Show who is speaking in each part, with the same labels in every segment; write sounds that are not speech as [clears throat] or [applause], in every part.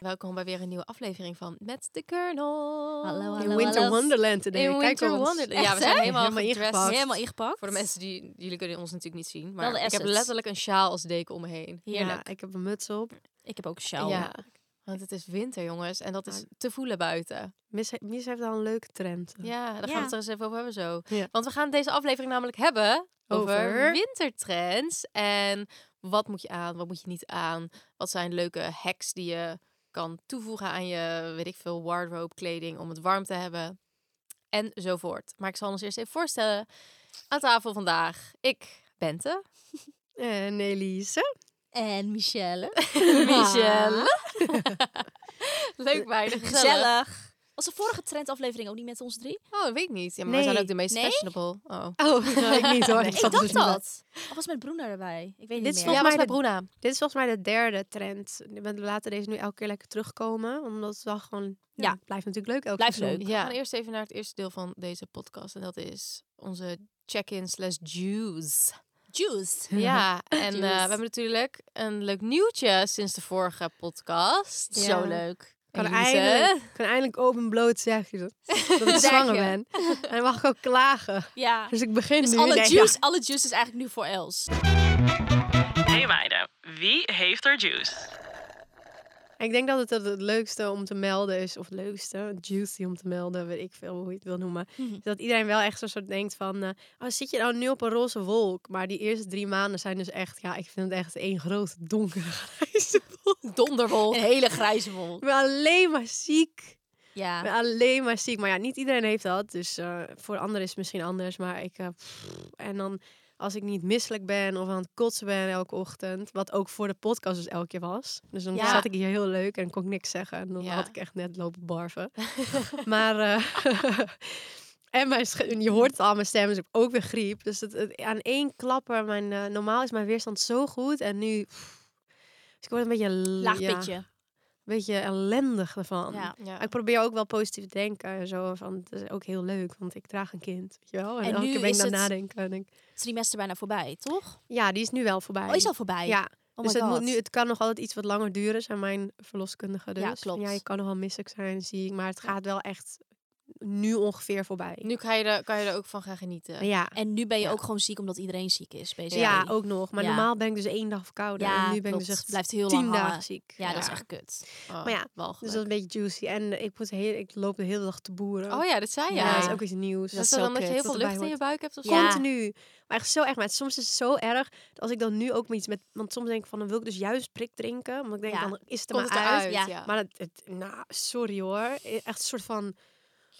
Speaker 1: Welkom bij weer een nieuwe aflevering van Met de Colonel.
Speaker 2: Hallo,
Speaker 1: In
Speaker 2: hallo,
Speaker 1: Winter
Speaker 2: hallo.
Speaker 1: Wonderland today.
Speaker 2: In
Speaker 1: Kijk
Speaker 2: Winter
Speaker 1: ons.
Speaker 2: Wonderland.
Speaker 1: Ja,
Speaker 2: Echt,
Speaker 1: we zijn
Speaker 2: hè?
Speaker 1: helemaal,
Speaker 2: Helemaal
Speaker 1: ingepakt.
Speaker 2: ingepakt. Helemaal ingepakt.
Speaker 1: Voor de mensen die, jullie kunnen ons natuurlijk niet zien,
Speaker 2: Wel
Speaker 1: maar
Speaker 2: de
Speaker 1: ik heb
Speaker 2: assets.
Speaker 1: letterlijk een sjaal als deken om me heen.
Speaker 2: Heerlijk.
Speaker 3: Ja, ik heb een muts op.
Speaker 2: Ik heb ook een sjaal. Ah.
Speaker 1: Ja, want het is winter jongens en dat is
Speaker 3: Ja.
Speaker 1: te voelen buiten.
Speaker 3: Mis, he- Mies heeft al een leuke trend.
Speaker 1: Ja, daar gaan
Speaker 2: Ja.
Speaker 1: we het er eens even over hebben zo.
Speaker 3: Ja.
Speaker 1: Want we gaan deze aflevering namelijk hebben over,
Speaker 3: Over?
Speaker 1: wintertrends. En wat moet je aan, wat moet je niet aan? Wat zijn leuke hacks die je kan toevoegen aan je, weet ik veel, wardrobe, kleding om het warm te hebben. En zo voort. Maar ik zal ons eerst even voorstellen. Aan tafel vandaag, ik, Bente.
Speaker 3: Eh, En Elise.
Speaker 2: En [laughs] Michelle. Ah,
Speaker 1: Michelle. [laughs] Leuk bij de gezellig.
Speaker 2: Gezellig. Was de vorige trendaflevering ook niet met ons drie?
Speaker 1: Oh, dat weet ik niet. Ja, maar wij
Speaker 3: Nee.
Speaker 1: zijn ook de meest
Speaker 2: Nee?
Speaker 1: fashionable. Oh.
Speaker 3: Oh, [laughs] ik niet hoor.
Speaker 1: Nee,
Speaker 3: Ik
Speaker 2: Ik
Speaker 3: zat
Speaker 2: dacht
Speaker 3: er dus niet bij.
Speaker 2: dat. Of was met Bruna erbij? Ik weet
Speaker 3: Dit
Speaker 2: niet
Speaker 3: is
Speaker 2: meer.
Speaker 1: Ja,
Speaker 3: volgens
Speaker 1: was
Speaker 3: mij
Speaker 1: bij
Speaker 3: de-
Speaker 1: Bruna.
Speaker 3: Dit is volgens mij de derde trend. We laten deze nu elke keer lekker terugkomen. Omdat het wel gewoon... Ja,
Speaker 2: Ja.
Speaker 3: blijft natuurlijk leuk elke
Speaker 2: Blijft
Speaker 3: seizoen.
Speaker 2: leuk.
Speaker 1: Ja. We gaan eerst even naar het eerste deel van deze podcast. En dat is onze check-in slash juice.
Speaker 2: Juice.
Speaker 3: [laughs]
Speaker 1: Ja, en eh,
Speaker 2: Juice.
Speaker 1: we hebben natuurlijk een leuk nieuwtje sinds de vorige podcast.
Speaker 3: Ja.
Speaker 1: Zo leuk.
Speaker 3: Ik kan,
Speaker 1: Elise.
Speaker 3: eindelijk, ik kan eindelijk open bloot zeggen
Speaker 2: [laughs]
Speaker 3: dat- dat ik zwanger
Speaker 2: je.
Speaker 3: ben. En dan mag ik ook klagen.
Speaker 2: Ja.
Speaker 3: Dus ik begin
Speaker 2: Dus
Speaker 3: nu.
Speaker 2: alle
Speaker 3: Nee, ja.
Speaker 2: juice, alle juice is eigenlijk nu voor Els.
Speaker 4: Hey meiden, wie heeft er juice?
Speaker 3: Ik denk dat het, dat het leukste om te melden is, of het leukste, juicy om te melden, weet ik veel hoe je het wil noemen.
Speaker 2: Mhm.
Speaker 3: Is Dat iedereen wel echt zo'n soort denkt van, eh, oh, zit je nou nu op een roze wolk? Maar die eerste drie maanden zijn dus echt, ja, ik vind het echt één grote donkere [laughs] grijze wolk.
Speaker 2: Donderwolk. Een hele grijze wolk.
Speaker 3: Ik ben alleen maar ziek. Ik
Speaker 2: Ja.
Speaker 3: ben alleen maar ziek. Maar ja, niet iedereen heeft dat. Dus eh, voor anderen is het misschien anders. Maar ik, eh, pff, en dan als ik niet misselijk ben of aan het kotsen ben elke ochtend. Wat ook voor de podcast dus elke keer was. Dus dan
Speaker 1: Ja.
Speaker 3: zat ik hier heel leuk en kon ik niks zeggen. En dan
Speaker 1: Ja.
Speaker 3: had ik echt net lopen
Speaker 2: [laughs]
Speaker 3: barven. maar... eh, [laughs] En mijn sch- en je hoort het al, mijn stem is ook weer griep. Dus het, het- aan één klapper, mijn, eh, normaal is mijn weerstand zo goed. En nu, pff, dus ik word een beetje, l-
Speaker 2: Laag
Speaker 3: ja,
Speaker 2: pitje.
Speaker 3: een beetje ellendig ervan.
Speaker 2: Ja.
Speaker 1: Ja.
Speaker 3: Maar ik probeer ook wel positief te denken en zo. Van, het is ook heel leuk, want ik draag een kind. Weet je wel? En,
Speaker 2: En
Speaker 3: elke
Speaker 2: nu
Speaker 3: keer ben ik
Speaker 2: is
Speaker 3: aan het
Speaker 2: het-
Speaker 3: nadenken. En ik,
Speaker 2: Trimester bijna voorbij, toch?
Speaker 3: ja, die is nu wel voorbij.
Speaker 2: Oh, is al voorbij?
Speaker 3: Ja,
Speaker 2: Oh my
Speaker 3: dus het, moet
Speaker 2: god.
Speaker 3: nu, het kan nog altijd iets wat langer duren, zijn mijn verloskundige dus.
Speaker 2: Ja,
Speaker 3: Van,
Speaker 2: klopt.
Speaker 3: Ja, je kan nog wel misselijk zijn, zie ik. Maar het gaat wel echt nu ongeveer voorbij.
Speaker 1: Nu kan je, er, kan je er ook van gaan genieten.
Speaker 3: Ja, Dus
Speaker 2: En nu ben je
Speaker 1: Ja.
Speaker 2: ook gewoon ziek omdat iedereen ziek is. Basically.
Speaker 3: ja, ook nog. Maar
Speaker 2: Ja.
Speaker 3: normaal ben ik dus één dag verkouden.
Speaker 2: Ja,
Speaker 3: en nu ben
Speaker 2: klopt.
Speaker 3: ik dus echt
Speaker 2: Blijft heel
Speaker 3: tien
Speaker 2: lang
Speaker 3: dagen
Speaker 2: hangen.
Speaker 3: ziek.
Speaker 2: Ja, dat is
Speaker 1: Ja.
Speaker 2: echt kut.
Speaker 1: Oh,
Speaker 3: Maar ja, Dus
Speaker 1: walgelijk.
Speaker 3: dat is een beetje juicy. En ik, moet heel, ik loop de hele dag te boeren.
Speaker 1: Oh ja, dat zei jij.
Speaker 3: Ja, dat is
Speaker 2: Ja.
Speaker 3: ook iets nieuws.
Speaker 1: Dat is
Speaker 2: zo
Speaker 1: dan dat
Speaker 2: kut.
Speaker 1: je heel
Speaker 3: Dat
Speaker 1: veel
Speaker 3: erbij
Speaker 1: lucht in je
Speaker 3: hoort.
Speaker 1: buik hebt of zo.
Speaker 2: Ja.
Speaker 3: Continu. Maar echt zo erg. Maar het- soms is het zo erg dat als ik dan nu ook iets met... Want soms denk ik van, dan wil ik dus juist prik drinken. Want ik denk,
Speaker 2: Ja.
Speaker 3: dan is het er
Speaker 1: Komt
Speaker 3: maar
Speaker 1: het
Speaker 3: uit.
Speaker 1: eruit?
Speaker 2: Ja.
Speaker 3: Maar het, het- nou, sorry hoor. e, Echt een soort van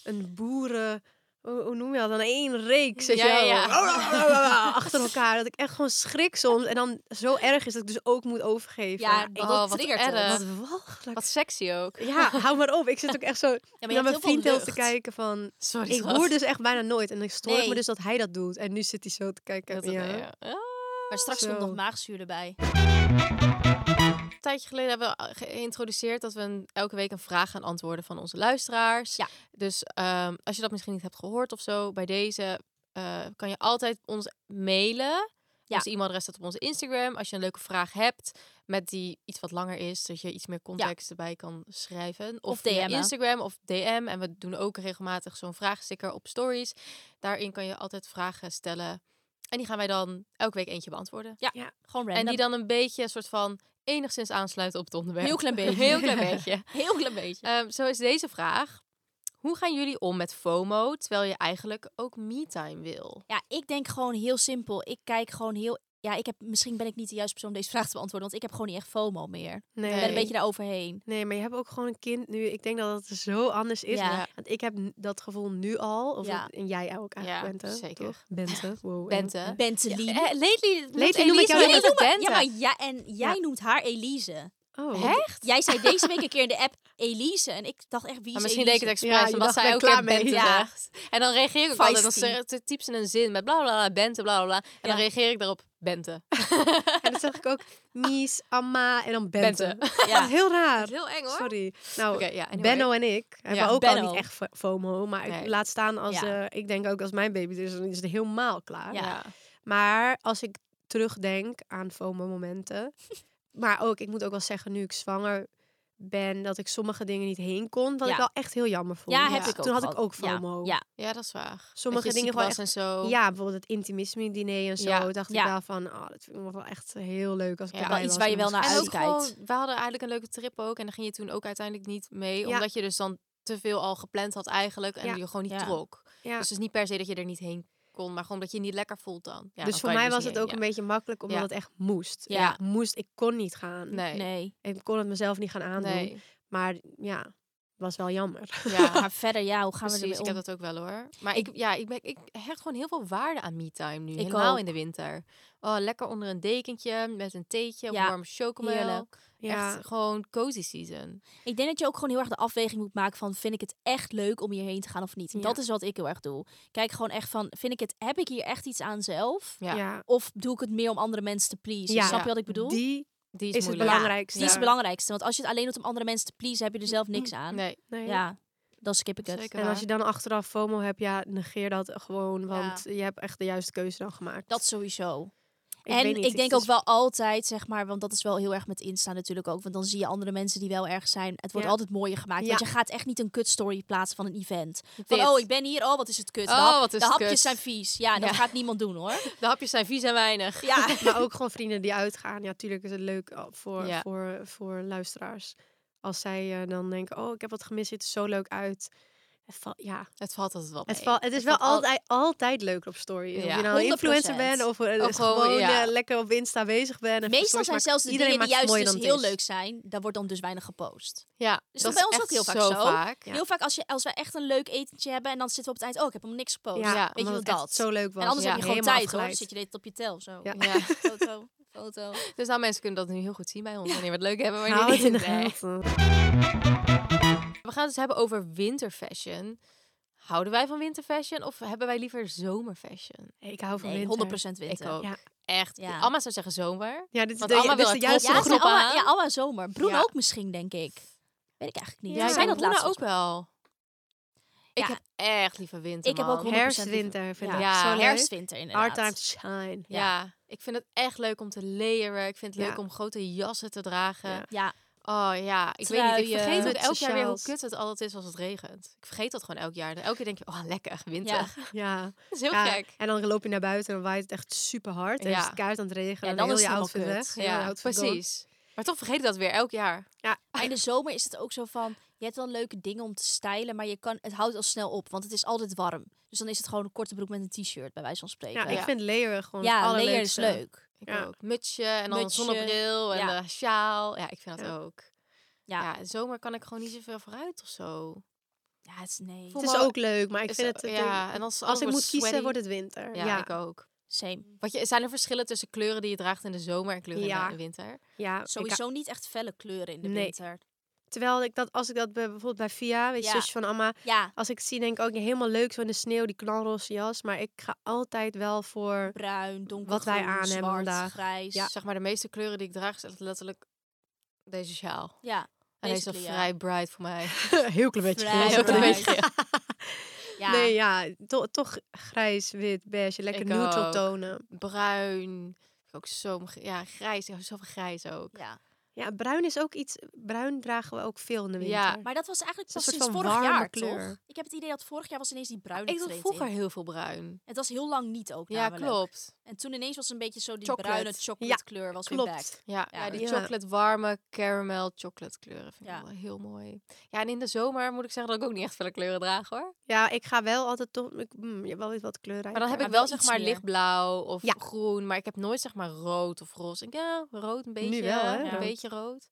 Speaker 3: een boeren... Hoe, hoe noem je dat? Dan één reeks. weet
Speaker 1: Ja,
Speaker 3: je wel.
Speaker 1: ja, ja.
Speaker 3: Achter elkaar. Dat ik echt gewoon schrik soms. En dan zo erg is dat ik dus ook moet overgeven.
Speaker 2: Ja,
Speaker 3: ik,
Speaker 2: dat eh,
Speaker 1: Oh, wat
Speaker 2: triggert
Speaker 1: erg.
Speaker 2: het.
Speaker 3: wat walgelijk.
Speaker 1: Wat sexy ook.
Speaker 3: Ja, hou maar op. Ik zit ook echt zo
Speaker 2: Ja, maar je
Speaker 3: naar
Speaker 2: hebt
Speaker 3: mijn
Speaker 2: heel
Speaker 3: vriend
Speaker 2: veel
Speaker 3: heel te
Speaker 2: lucht.
Speaker 3: kijken van...
Speaker 1: Sorry,
Speaker 3: Ik
Speaker 1: schat.
Speaker 3: hoor dus echt bijna nooit. En ik stoor
Speaker 2: Nee.
Speaker 3: me dus dat hij dat doet. En nu zit hij zo te kijken.
Speaker 1: Dat-
Speaker 3: ja.
Speaker 1: ja. Ah.
Speaker 2: Maar straks komt
Speaker 3: Zo.
Speaker 2: nog maagzuur erbij.
Speaker 1: een tijdje geleden hebben we eh, geïntroduceerd dat we een- elke week een vraag gaan antwoorden van onze luisteraars.
Speaker 2: Ja.
Speaker 1: Dus ehm, als je dat misschien niet hebt gehoord of zo, bij deze eh, kan je altijd ons mailen.
Speaker 2: Ja.
Speaker 1: Ons e-mailadres staat op onze Instagram. Als je een leuke vraag hebt met die iets wat langer is, dat je iets meer context erbij kan schrijven. Of,
Speaker 2: Of
Speaker 1: via
Speaker 2: DM'en.
Speaker 1: Instagram of DM. En we doen ook regelmatig zo'n vraagsticker op stories. Daarin kan je altijd vragen stellen. En die gaan wij dan elke week eentje beantwoorden.
Speaker 2: Gewoon random.
Speaker 1: En die dan een beetje een soort van enigszins aansluiten op het onderwerp.
Speaker 2: Heel
Speaker 1: [laughs]
Speaker 2: klein beetje.
Speaker 1: Heel
Speaker 2: [laughs]
Speaker 1: klein beetje.
Speaker 2: Heel klein beetje.
Speaker 1: Ehm, zo is deze vraag. Hoe gaan jullie om met FOMO, terwijl je eigenlijk ook me-time wil?
Speaker 2: Ja, ik denk gewoon heel simpel. Ik kijk gewoon heel... Ja, ik heb, misschien ben ik niet de juiste persoon om deze [laughs] vraag te beantwoorden. Want ik heb gewoon niet echt FOMO meer. Ik
Speaker 3: Nee.
Speaker 2: ben een beetje daaroverheen.
Speaker 3: Nee, maar je hebt ook gewoon een kind nu. Ik denk dat het zo anders is.
Speaker 2: Ja.
Speaker 3: Want ik heb n- dat gevoel nu al. Of
Speaker 2: Ja.
Speaker 3: dat- en jij ook eigenlijk,
Speaker 1: Ja,
Speaker 3: Bente.
Speaker 1: zeker.
Speaker 3: Toch?
Speaker 1: [laughs]
Speaker 3: Bente. Wow,
Speaker 1: Bente.
Speaker 3: Elke.
Speaker 2: Bentelie.
Speaker 1: [laughs] Eh, lately, noemt
Speaker 3: Lately noem ik
Speaker 1: Elise
Speaker 3: jou
Speaker 1: me
Speaker 3: heel
Speaker 1: altijd Bente.
Speaker 2: Ja, maar ja, en jij noemt haar Elise.
Speaker 3: Oh.
Speaker 1: Echt?
Speaker 2: Jij zei deze week een keer in de app Elise. En ik dacht echt, wie is
Speaker 1: Maar misschien deed ik
Speaker 2: Elise?
Speaker 1: het
Speaker 3: Ja,
Speaker 1: expres,
Speaker 3: je
Speaker 1: omdat
Speaker 3: dacht,
Speaker 1: zij
Speaker 3: ben
Speaker 1: ook
Speaker 3: klaar
Speaker 1: klaar
Speaker 3: mee.
Speaker 1: Bente
Speaker 2: Ja.
Speaker 1: zegt. En dan reageer ik ook altijd, dan
Speaker 2: Feisty.
Speaker 1: ze- typt ze een zin met bla bla bla, Bente, bla bla bla. En dan
Speaker 2: Ja.
Speaker 1: reageer ik daarop, Bente.
Speaker 3: [laughs] En dan zeg ik ook Mies, Amma en dan Bente.
Speaker 1: Bente.
Speaker 3: [laughs] Dat is heel raar.
Speaker 1: Heel eng hoor.
Speaker 3: Sorry. Nou,
Speaker 1: Oké, ja, anyway.
Speaker 3: Benno en ik hebben ook al
Speaker 2: Benno.
Speaker 3: niet echt fo- FOMO. Maar ik
Speaker 1: Nee.
Speaker 3: laat staan als...
Speaker 2: Ja.
Speaker 3: eh, ik denk ook als mijn baby er is, dan is het helemaal klaar.
Speaker 2: Ja.
Speaker 3: Maar als ik terugdenk aan
Speaker 2: [laughs]
Speaker 3: FOMO-momenten... maar ook, ik moet ook wel zeggen, nu ik zwanger ben... dat ik sommige dingen niet heen kon. Wat
Speaker 2: Ja.
Speaker 3: ik wel echt heel jammer vond.
Speaker 2: Ja, heb ik ook
Speaker 3: Toen had ik
Speaker 2: gehad.
Speaker 3: ook FOMO.
Speaker 2: Ja,
Speaker 1: Ja, dat is waar.
Speaker 3: Sommige
Speaker 1: Dat je
Speaker 3: dingen
Speaker 1: ziek
Speaker 3: gewoon
Speaker 1: was en zo.
Speaker 3: Ja, bijvoorbeeld het intimisme-diner en zo.
Speaker 1: Ja.
Speaker 3: dacht
Speaker 2: Ja.
Speaker 3: ik wel van, oh, dat vind ik nog wel echt heel leuk als ik
Speaker 1: Ja.
Speaker 3: erbij
Speaker 2: Wel iets
Speaker 3: was.
Speaker 2: waar je
Speaker 3: en
Speaker 2: wel
Speaker 3: dat
Speaker 2: naar
Speaker 3: soort
Speaker 1: En ook
Speaker 3: dingen.
Speaker 2: uitkijkt.
Speaker 1: gewoon, we hadden eigenlijk een leuke trip ook. En dan ging je toen ook uiteindelijk niet mee.
Speaker 3: Ja.
Speaker 1: Omdat je dus dan te veel al gepland had eigenlijk. En
Speaker 3: Ja.
Speaker 1: je gewoon niet
Speaker 2: Ja.
Speaker 1: trok.
Speaker 3: Ja.
Speaker 1: Dus het is niet per se dat je er niet heen kon. Maar gewoon dat je je niet lekker voelt dan. Ja,
Speaker 3: dus voor mij was het ook een beetje makkelijk, omdat
Speaker 1: Ja.
Speaker 3: het echt moest.
Speaker 1: Ja.
Speaker 3: Ik moest, ik kon niet gaan.
Speaker 1: Nee. Nee.
Speaker 3: [laughs]
Speaker 2: nee.
Speaker 3: Ik kon het mezelf niet gaan aandoen. Maar ja, was wel jammer.
Speaker 2: [laughs]
Speaker 1: Ja,
Speaker 2: Maar verder, ja, hoe gaan
Speaker 1: precies.
Speaker 2: we
Speaker 1: Ik heb
Speaker 2: ermee om?
Speaker 1: dat ook wel hoor. Maar
Speaker 2: Ik-
Speaker 1: ik, ja, ik, ben, ik hecht gewoon heel veel waarde aan me-time nu.
Speaker 2: Ik
Speaker 1: helemaal
Speaker 2: ook.
Speaker 1: in de winter. Oh, lekker onder een dekentje, met een theetje,
Speaker 2: Ja,
Speaker 1: een warme chocomel.
Speaker 2: heerlijk.
Speaker 3: Ja.
Speaker 1: Echt gewoon cozy season.
Speaker 2: Ik denk dat je ook gewoon heel erg de afweging moet maken van... vind ik het echt leuk om hierheen te gaan of niet? En
Speaker 3: Ja.
Speaker 2: Dat is wat ik heel erg doe. Kijk gewoon echt van, vind ik het, heb ik hier echt iets aan zelf?
Speaker 1: Ja.
Speaker 3: ja.
Speaker 2: Of doe ik het meer om andere mensen te pleasen?
Speaker 3: Ja.
Speaker 2: Snap je wat ik bedoel?
Speaker 3: Die
Speaker 1: Die is,
Speaker 3: is, het
Speaker 1: moeilijk.
Speaker 3: belangrijkste.
Speaker 2: Die is het belangrijkste. Want als je het alleen doet om andere mensen te pleasen, heb je er zelf niks aan.
Speaker 1: Nee,
Speaker 3: Nee.
Speaker 2: Ja, dan skip ik het.
Speaker 1: zeker
Speaker 3: En
Speaker 1: waar.
Speaker 3: als je dan achteraf FOMO hebt, ja, negeer dat gewoon. Want je hebt echt de juiste keuze dan gemaakt.
Speaker 2: Dat sowieso.
Speaker 3: Ik
Speaker 2: en
Speaker 3: weet niet,
Speaker 2: ik denk
Speaker 3: het
Speaker 2: ook
Speaker 3: is-
Speaker 2: wel altijd, zeg maar, want dat is wel heel erg met Insta natuurlijk ook. Want dan zie je andere mensen die wel erg zijn. Het wordt
Speaker 3: Ja.
Speaker 2: altijd mooier gemaakt. Want
Speaker 3: Ja.
Speaker 2: je gaat echt niet een kutstory plaatsen van een event. Van,
Speaker 1: Dit.
Speaker 2: oh, ik ben hier. Oh, wat is het kut. De,
Speaker 1: Oh,
Speaker 2: hap-
Speaker 1: wat is
Speaker 2: de
Speaker 1: het
Speaker 2: hapjes
Speaker 1: kut.
Speaker 2: zijn vies. Ja, dat
Speaker 1: Ja.
Speaker 2: gaat niemand doen hoor.
Speaker 1: De hapjes zijn vies en weinig. [laughs]
Speaker 2: Ja,
Speaker 3: [laughs] Maar ook gewoon vrienden die uitgaan. Ja, tuurlijk is het leuk uh, voor,
Speaker 1: Ja.
Speaker 3: voor, voor luisteraars. Als zij eh, dan denken, oh, ik heb wat gemist, het is zo leuk uit. Het val- ja,
Speaker 1: Het valt altijd wel mee.
Speaker 3: het, val, het is wel
Speaker 1: valt al-
Speaker 3: altijd, altijd leuk op story. Of
Speaker 1: Ja.
Speaker 3: je nou een influencer
Speaker 2: 100%.
Speaker 3: bent of, eh,
Speaker 1: Of gewoon,
Speaker 3: gewoon
Speaker 1: ja.
Speaker 3: eh, lekker op Insta bezig bent. en
Speaker 2: meestal
Speaker 3: stories
Speaker 2: zijn
Speaker 3: maakt.
Speaker 2: zelfs de
Speaker 3: Iedereen
Speaker 2: dingen die
Speaker 3: maakt het
Speaker 2: juist dus
Speaker 3: mooier
Speaker 2: heel
Speaker 3: dan het
Speaker 2: leuk zijn, daar wordt dan dus weinig gepost.
Speaker 1: Ja,
Speaker 2: Is
Speaker 1: dat
Speaker 2: dat bij ons
Speaker 1: echt
Speaker 2: ook heel vaak zo? Heel vaak als, je, als wij echt een leuk etentje hebben en dan zitten we op het eind, oh, ik heb hem niks gepost.
Speaker 1: Ja,
Speaker 3: Ja,
Speaker 2: Weet je
Speaker 3: omdat
Speaker 2: wel
Speaker 3: het echt
Speaker 2: dat?
Speaker 3: zo leuk was.
Speaker 2: En anders
Speaker 1: Ja,
Speaker 2: heb je gewoon
Speaker 3: helemaal
Speaker 2: tijd hoor. Dan
Speaker 3: afgeleid.
Speaker 2: zit je dit op je tel zo.
Speaker 3: Ja. [laughs]
Speaker 1: Ja.
Speaker 2: Foto, foto.
Speaker 1: Dus nou, mensen kunnen dat nu heel goed zien bij ons. Wanneer we het leuk hebben, wanneer
Speaker 3: Hou het
Speaker 1: niet.
Speaker 3: in de
Speaker 1: Nee.
Speaker 3: gaten.
Speaker 1: We gaan het dus hebben over winterfashion. Houden wij van winterfashion of hebben wij liever zomerfashion?
Speaker 3: Ik hou van
Speaker 2: Nee, 100%
Speaker 3: winter.
Speaker 2: winter.
Speaker 1: Ik ook.
Speaker 3: Ja.
Speaker 1: Echt.
Speaker 2: Ja.
Speaker 1: Amma zou zeggen zomer.
Speaker 3: Ja, dit is
Speaker 1: Want
Speaker 3: de,
Speaker 1: allemaal
Speaker 3: dit is
Speaker 1: wil
Speaker 3: de
Speaker 1: het
Speaker 3: juiste
Speaker 2: Ja,
Speaker 1: trots
Speaker 3: groep.
Speaker 2: zijn
Speaker 1: groep
Speaker 2: allemaal,
Speaker 1: aan.
Speaker 2: ja, allemaal zomer. Broen
Speaker 1: Ja.
Speaker 2: ook misschien, denk ik. Weet ik eigenlijk niet.
Speaker 3: Ja,
Speaker 2: Ja,
Speaker 1: ik
Speaker 2: Zijn
Speaker 1: denk
Speaker 2: dat laatst
Speaker 1: Luna ook wel. Ik
Speaker 2: Ja.
Speaker 1: heb echt liever winter,
Speaker 2: Ik heb
Speaker 1: man.
Speaker 2: ook 100%
Speaker 3: Herfstwinter vind ik
Speaker 1: Ja.
Speaker 3: zo leuk.
Speaker 2: herfstwinter inderdaad.
Speaker 3: Our time to shine.
Speaker 1: ja. ik vind het echt leuk om te layeren. Ik vind het
Speaker 3: Ja.
Speaker 1: leuk om grote jassen te dragen.
Speaker 3: Ja.
Speaker 2: Ja,
Speaker 1: Oh ja, ik weet niet. Ik
Speaker 2: Truien.
Speaker 1: vergeet ook
Speaker 3: Mutsen,
Speaker 1: elk jaar weer hoe
Speaker 3: sjaals.
Speaker 1: kut het altijd is als het regent. Ik vergeet dat gewoon elk jaar. Dan elke keer denk je, oh lekker, winter.
Speaker 2: Ja.
Speaker 3: Ja.
Speaker 1: Dat is heel
Speaker 3: Ja,
Speaker 1: gek.
Speaker 3: En dan loop je naar buiten en dan waait het echt super hard. En
Speaker 1: Ja.
Speaker 3: is het koud aan het regenen.
Speaker 2: Ja,
Speaker 3: en
Speaker 2: dan
Speaker 3: heel
Speaker 2: is
Speaker 3: je
Speaker 2: het
Speaker 3: outfit
Speaker 2: helemaal
Speaker 3: weg.
Speaker 2: kut.
Speaker 3: Heel je
Speaker 1: Ja,
Speaker 3: outfit gone.
Speaker 1: precies. Maar toch vergeet ik dat weer elk jaar.
Speaker 2: maar in de zomer is het ook zo van... Je hebt wel leuke dingen om te stylen, maar je kan, het houdt al snel op. Want het is altijd warm. Dus dan is het gewoon een korte broek met een t-shirt, bij wijze van
Speaker 3: Ja,
Speaker 2: spreken.
Speaker 3: ik vind leren gewoon het
Speaker 2: ja layer is
Speaker 3: allerleukste.
Speaker 2: leuk.
Speaker 1: Ik
Speaker 3: Ja.
Speaker 1: ook. Mutsje en dan een
Speaker 2: Mutsje,
Speaker 1: zonnebril en
Speaker 2: ja.
Speaker 1: een sjaal. Ja, ik vind dat
Speaker 3: Ja.
Speaker 1: ook.
Speaker 2: Ja.
Speaker 1: Ja. in de zomer kan ik gewoon niet zoveel vooruit of zo.
Speaker 2: Ja, het is nee.
Speaker 1: Voel-
Speaker 3: Het is
Speaker 1: Maar-
Speaker 3: ook leuk, maar ik
Speaker 1: Is-
Speaker 3: vind het... eh,
Speaker 1: ja, en als,
Speaker 3: Als ik moet kiezen, wordt
Speaker 1: wordt
Speaker 3: het winter.
Speaker 1: Ja,
Speaker 3: Ja,
Speaker 1: ik ook.
Speaker 2: Same.
Speaker 1: Wat je, zijn er verschillen tussen kleuren die je draagt in de zomer en kleuren in de-
Speaker 3: Ja.
Speaker 1: in de winter?
Speaker 3: ja, Eh, ik-
Speaker 2: Sowieso niet echt felle kleuren in de
Speaker 3: Nee.
Speaker 2: winter.
Speaker 3: terwijl ik dat, als ik dat bij- bijvoorbeeld bij Via, weet je,
Speaker 2: Ja.
Speaker 3: zusje van Amma,
Speaker 2: Ja,
Speaker 3: als ik het zie, denk ik ook ja, helemaal leuk zo in de sneeuw, die knalroze jas. Maar ik ga altijd wel voor.
Speaker 2: bruin, donkergroen,
Speaker 3: Wat wij aan hebben
Speaker 2: zwart,
Speaker 3: vandaag.
Speaker 2: grijs.
Speaker 1: Zeg maar, de meeste kleuren die ik draag, is echt letterlijk deze sjaal.
Speaker 2: Ja,
Speaker 1: En hij is al
Speaker 2: Basically, ja.
Speaker 1: vrij bright voor mij.
Speaker 3: Heel klein beetje.
Speaker 2: Vrij
Speaker 3: grijs.
Speaker 1: Ook een
Speaker 2: bright.
Speaker 1: beetje.
Speaker 2: ja.
Speaker 3: Nee, ja, to- toch grijs, wit, beige, lekker
Speaker 1: Ik
Speaker 3: neutral
Speaker 1: ook.
Speaker 3: tonen.
Speaker 1: [laughs] Bruin. Ook zo, ja, grijs. Ik hou zo van grijs ook.
Speaker 2: ja.
Speaker 3: Ja, bruin is ook iets. Bruin dragen we ook veel in de winter.
Speaker 1: Ja,
Speaker 2: Maar dat was eigenlijk
Speaker 3: Het is
Speaker 2: pas
Speaker 3: een
Speaker 2: sinds
Speaker 3: soort van
Speaker 2: vorig
Speaker 3: warme
Speaker 2: jaar,
Speaker 3: kleur.
Speaker 2: toch? Ik heb het idee dat vorig jaar was ineens die bruine
Speaker 1: Ah, Ik dacht
Speaker 2: trend
Speaker 1: vroeger
Speaker 2: in.
Speaker 1: heel veel bruin.
Speaker 2: Het was heel lang niet ook
Speaker 1: Ja,
Speaker 2: namelijk.
Speaker 1: klopt.
Speaker 2: En toen ineens was een beetje zo die
Speaker 1: Chocolate.
Speaker 2: bruine chocolate kleur was weer back.
Speaker 3: Klopt.
Speaker 1: Ja,
Speaker 2: Ja,
Speaker 1: ja, die
Speaker 3: dat-
Speaker 1: chocolate warme caramel chocolate kleuren vind
Speaker 2: Ja.
Speaker 1: ik wel heel mooi. Ja, en in de zomer moet ik zeggen dat ik ook niet echt felle kleuren draag hoor.
Speaker 3: Ja, ik ga wel altijd toch. Ik, mm, ja, wel iets wat kleurrijk.
Speaker 1: Maar dan heb
Speaker 2: maar
Speaker 1: ik wel
Speaker 2: wel
Speaker 1: zeg
Speaker 2: iets
Speaker 1: maar
Speaker 2: meer.
Speaker 1: lichtblauw of
Speaker 3: Ja.
Speaker 1: groen, maar ik heb nooit zeg maar rood of roze. Ik, ja, rood een beetje,
Speaker 3: wel, hè?
Speaker 1: een
Speaker 3: Ja.
Speaker 1: beetje rood.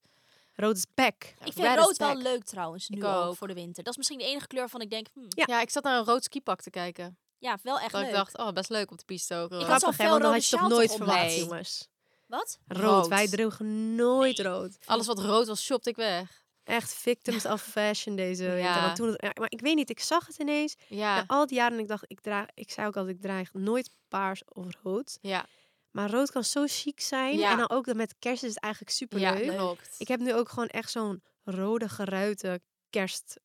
Speaker 3: Rood is back.
Speaker 1: Ja,
Speaker 2: Ik vind
Speaker 1: red is
Speaker 2: rood wel
Speaker 1: back.
Speaker 2: leuk trouwens, nu
Speaker 1: Ik
Speaker 2: ook.
Speaker 1: ook.
Speaker 2: voor de winter. Dat is misschien de enige kleur van ik denk, hmm,
Speaker 3: Ja.
Speaker 1: Ja. ik zat naar een rood skipak te kijken.
Speaker 2: ja, wel echt
Speaker 1: dat
Speaker 2: leuk.
Speaker 1: ik dacht, oh, best leuk op de piste ook. rood.
Speaker 2: had zo'n
Speaker 3: Grappig, hè? Want dan
Speaker 2: felrode
Speaker 3: had je toch
Speaker 2: sjaal
Speaker 3: nooit
Speaker 2: toch om
Speaker 3: verwacht,
Speaker 1: laten.
Speaker 3: jongens.
Speaker 2: Wat?
Speaker 3: Rood.
Speaker 1: Rood.
Speaker 3: Wij droegen nooit rood.
Speaker 1: Alles wat rood was, shopte ik weg.
Speaker 3: Echt victims of fashion deze winter.
Speaker 1: Ja.
Speaker 3: Want toen, ja, maar ik weet niet, ik zag het ineens.
Speaker 1: Ja,
Speaker 3: Na
Speaker 1: ja.
Speaker 3: al die jaren en ik dacht, ik, draag, ik zei ook altijd, ik draag nooit paars of rood.
Speaker 1: ja.
Speaker 3: Maar rood kan zo chic zijn.
Speaker 1: Ja.
Speaker 3: En dan ook dat met kerst is het eigenlijk super leuk.
Speaker 1: klopt.
Speaker 3: Ik heb nu ook gewoon echt zo'n rode geruite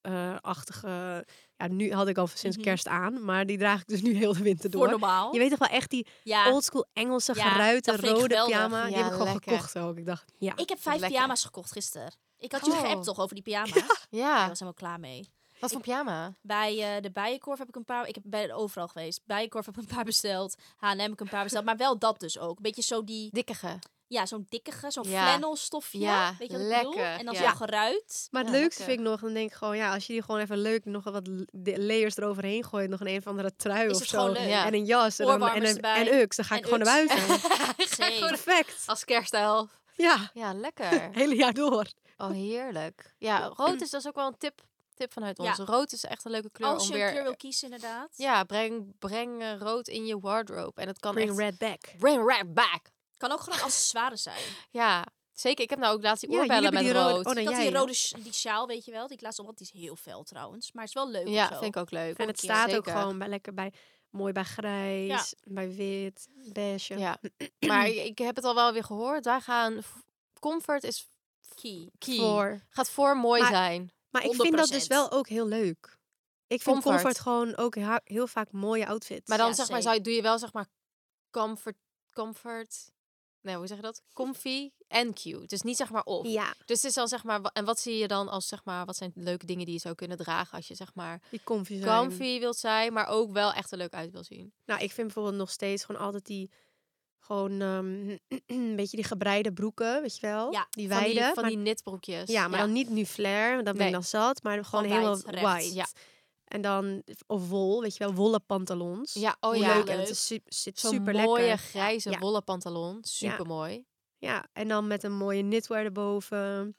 Speaker 3: kerstachtige... ja, nu had ik al sinds
Speaker 2: Mhm.
Speaker 3: kerst aan, maar die draag ik dus nu heel de winter
Speaker 2: Voor
Speaker 3: door.
Speaker 2: normaal.
Speaker 3: Je weet toch wel echt die
Speaker 2: ja.
Speaker 3: oldschool Engelse
Speaker 2: Ja,
Speaker 3: geruite
Speaker 2: dat vind ik
Speaker 3: rode
Speaker 2: geweldig.
Speaker 3: pyjama. Die
Speaker 1: Ja,
Speaker 3: heb ik gewoon
Speaker 1: lekker.
Speaker 3: gekocht ook. Ik dacht, ja.
Speaker 2: Ik heb vijf
Speaker 1: Lekker.
Speaker 2: pyjama's gekocht gisteren. Ik had je
Speaker 1: Oh.
Speaker 2: geappt toch over die pyjama's? Ja. Ik was
Speaker 1: Ja,
Speaker 2: helemaal klaar mee.
Speaker 1: wat voor pyjama?
Speaker 2: Bij eh, de Bijenkorf heb ik een paar... Ik heb bij overal geweest. Bijenkorf heb ik een paar besteld. H&M heb ik een paar besteld. Maar wel dat dus ook. Beetje zo die...
Speaker 1: [laughs] Dikkige.
Speaker 2: Ja, zo'n dikkige, zo'n
Speaker 1: Ja.
Speaker 2: flannel stofje.
Speaker 1: Ja,
Speaker 2: weet je wat ik bedoel?
Speaker 1: lekker,
Speaker 2: En dan
Speaker 1: ja.
Speaker 2: zo'n geruit.
Speaker 3: Maar het
Speaker 1: Ja,
Speaker 3: leukste
Speaker 1: lekker.
Speaker 3: vind ik nog, dan denk ik gewoon, ja, als je die gewoon even leuk nog wat l- de- layers eroverheen gooit, nog een een of andere trui
Speaker 2: Is
Speaker 3: of
Speaker 2: het
Speaker 3: zo.
Speaker 2: gewoon leuk.
Speaker 1: Ja.
Speaker 3: En een jas en, dan, en,
Speaker 2: Oorwarmers
Speaker 3: een,
Speaker 2: erbij.
Speaker 3: en uks, dan ga
Speaker 2: En
Speaker 3: ik gewoon naar
Speaker 1: [laughs]
Speaker 2: Uggs.
Speaker 3: buiten.
Speaker 2: Zeker.
Speaker 3: Perfect.
Speaker 1: Als kerstelf.
Speaker 3: Ja,
Speaker 1: [laughs] Ja, lekker.
Speaker 3: het hele jaar door.
Speaker 1: Oh, heerlijk. Ja, rood is dat is ook wel een tip, tip vanuit
Speaker 2: Ja.
Speaker 1: ons. Rood is echt een leuke kleur
Speaker 2: Als
Speaker 1: om
Speaker 2: je
Speaker 1: weer... eh,
Speaker 2: een kleur wil kiezen, inderdaad.
Speaker 1: Ja, breng, breng eh, rood in je wardrobe. En het kan
Speaker 3: Bring
Speaker 1: echt...
Speaker 3: red back.
Speaker 1: Bring red back.
Speaker 2: Kan ook gewoon accessoires zijn.
Speaker 1: Ja, zeker. Ik heb nou ook laatst die
Speaker 3: Ja, jullie
Speaker 1: oorbellen
Speaker 3: hebben
Speaker 1: met
Speaker 3: die rode-
Speaker 1: rood.
Speaker 3: oh, nee.
Speaker 2: Ik had
Speaker 3: jij,
Speaker 2: die
Speaker 3: hè?
Speaker 2: rode sj- die sjaal, weet je wel. Die ik laatst op had, die is heel fel trouwens. Maar is wel leuk
Speaker 1: ja,
Speaker 2: of zo.
Speaker 1: vind ik ook leuk.
Speaker 3: En het
Speaker 1: Ja,
Speaker 3: staat ook
Speaker 1: zeker.
Speaker 3: gewoon bij, lekker bij, mooi bij grijs, bij wit, beige.
Speaker 1: Ja,
Speaker 3: [clears throat]
Speaker 1: maar ik ik heb het al wel weer gehoord. Daar gaan... f- Comfort is
Speaker 2: Key.
Speaker 1: key.
Speaker 3: Voor.
Speaker 1: Gaat voor mooi
Speaker 3: Maar-
Speaker 1: zijn.
Speaker 3: Maar ik vind dat dus
Speaker 2: 100%.
Speaker 3: wel ook heel leuk. Ik vind comfort,
Speaker 1: Comfort.
Speaker 3: gewoon ook ha- heel vaak mooie outfits.
Speaker 1: Maar dan
Speaker 2: Ja,
Speaker 1: zeg maar, zou, je- doe je wel zeg maar comfort... comfort nee, hoe zeg je dat? Comfy en cute. Dus niet zeg maar op.
Speaker 3: ja,
Speaker 1: Dus het is dan zeg maar, wa- en wat zie je dan als zeg maar, wat zijn leuke dingen die je zou kunnen dragen als je zeg maar
Speaker 3: die comfy zijn.
Speaker 1: comfy wilt zijn, maar ook wel echt er leuk uit wil zien?
Speaker 3: Nou, ik vind bijvoorbeeld nog steeds gewoon altijd die. Gewoon ehm, [clears throat] een beetje die gebreide broeken, weet je wel?
Speaker 2: Ja,
Speaker 3: die
Speaker 1: Van
Speaker 3: wijde.
Speaker 1: die, van
Speaker 3: maar-
Speaker 1: die knitbroekjes.
Speaker 3: ja, maar dan niet nu flare, want dan ben
Speaker 1: Nee.
Speaker 3: ik dan zat. Maar gewoon
Speaker 2: Gewoon
Speaker 3: helemaal
Speaker 2: wijd, recht.
Speaker 3: wide.
Speaker 1: Ja.
Speaker 3: En dan, of wol, weet je wel, wollen pantalons.
Speaker 1: Ja, oh
Speaker 3: Hoe
Speaker 1: ja.
Speaker 3: leuk. En
Speaker 2: Leuk.
Speaker 3: het is super, zit
Speaker 1: Zo'n
Speaker 3: super
Speaker 1: mooie
Speaker 3: lekker.
Speaker 1: grijze
Speaker 3: Ja.
Speaker 1: wollen pantalon. Super mooi.
Speaker 3: Ja, en dan met een mooie knitwear erboven.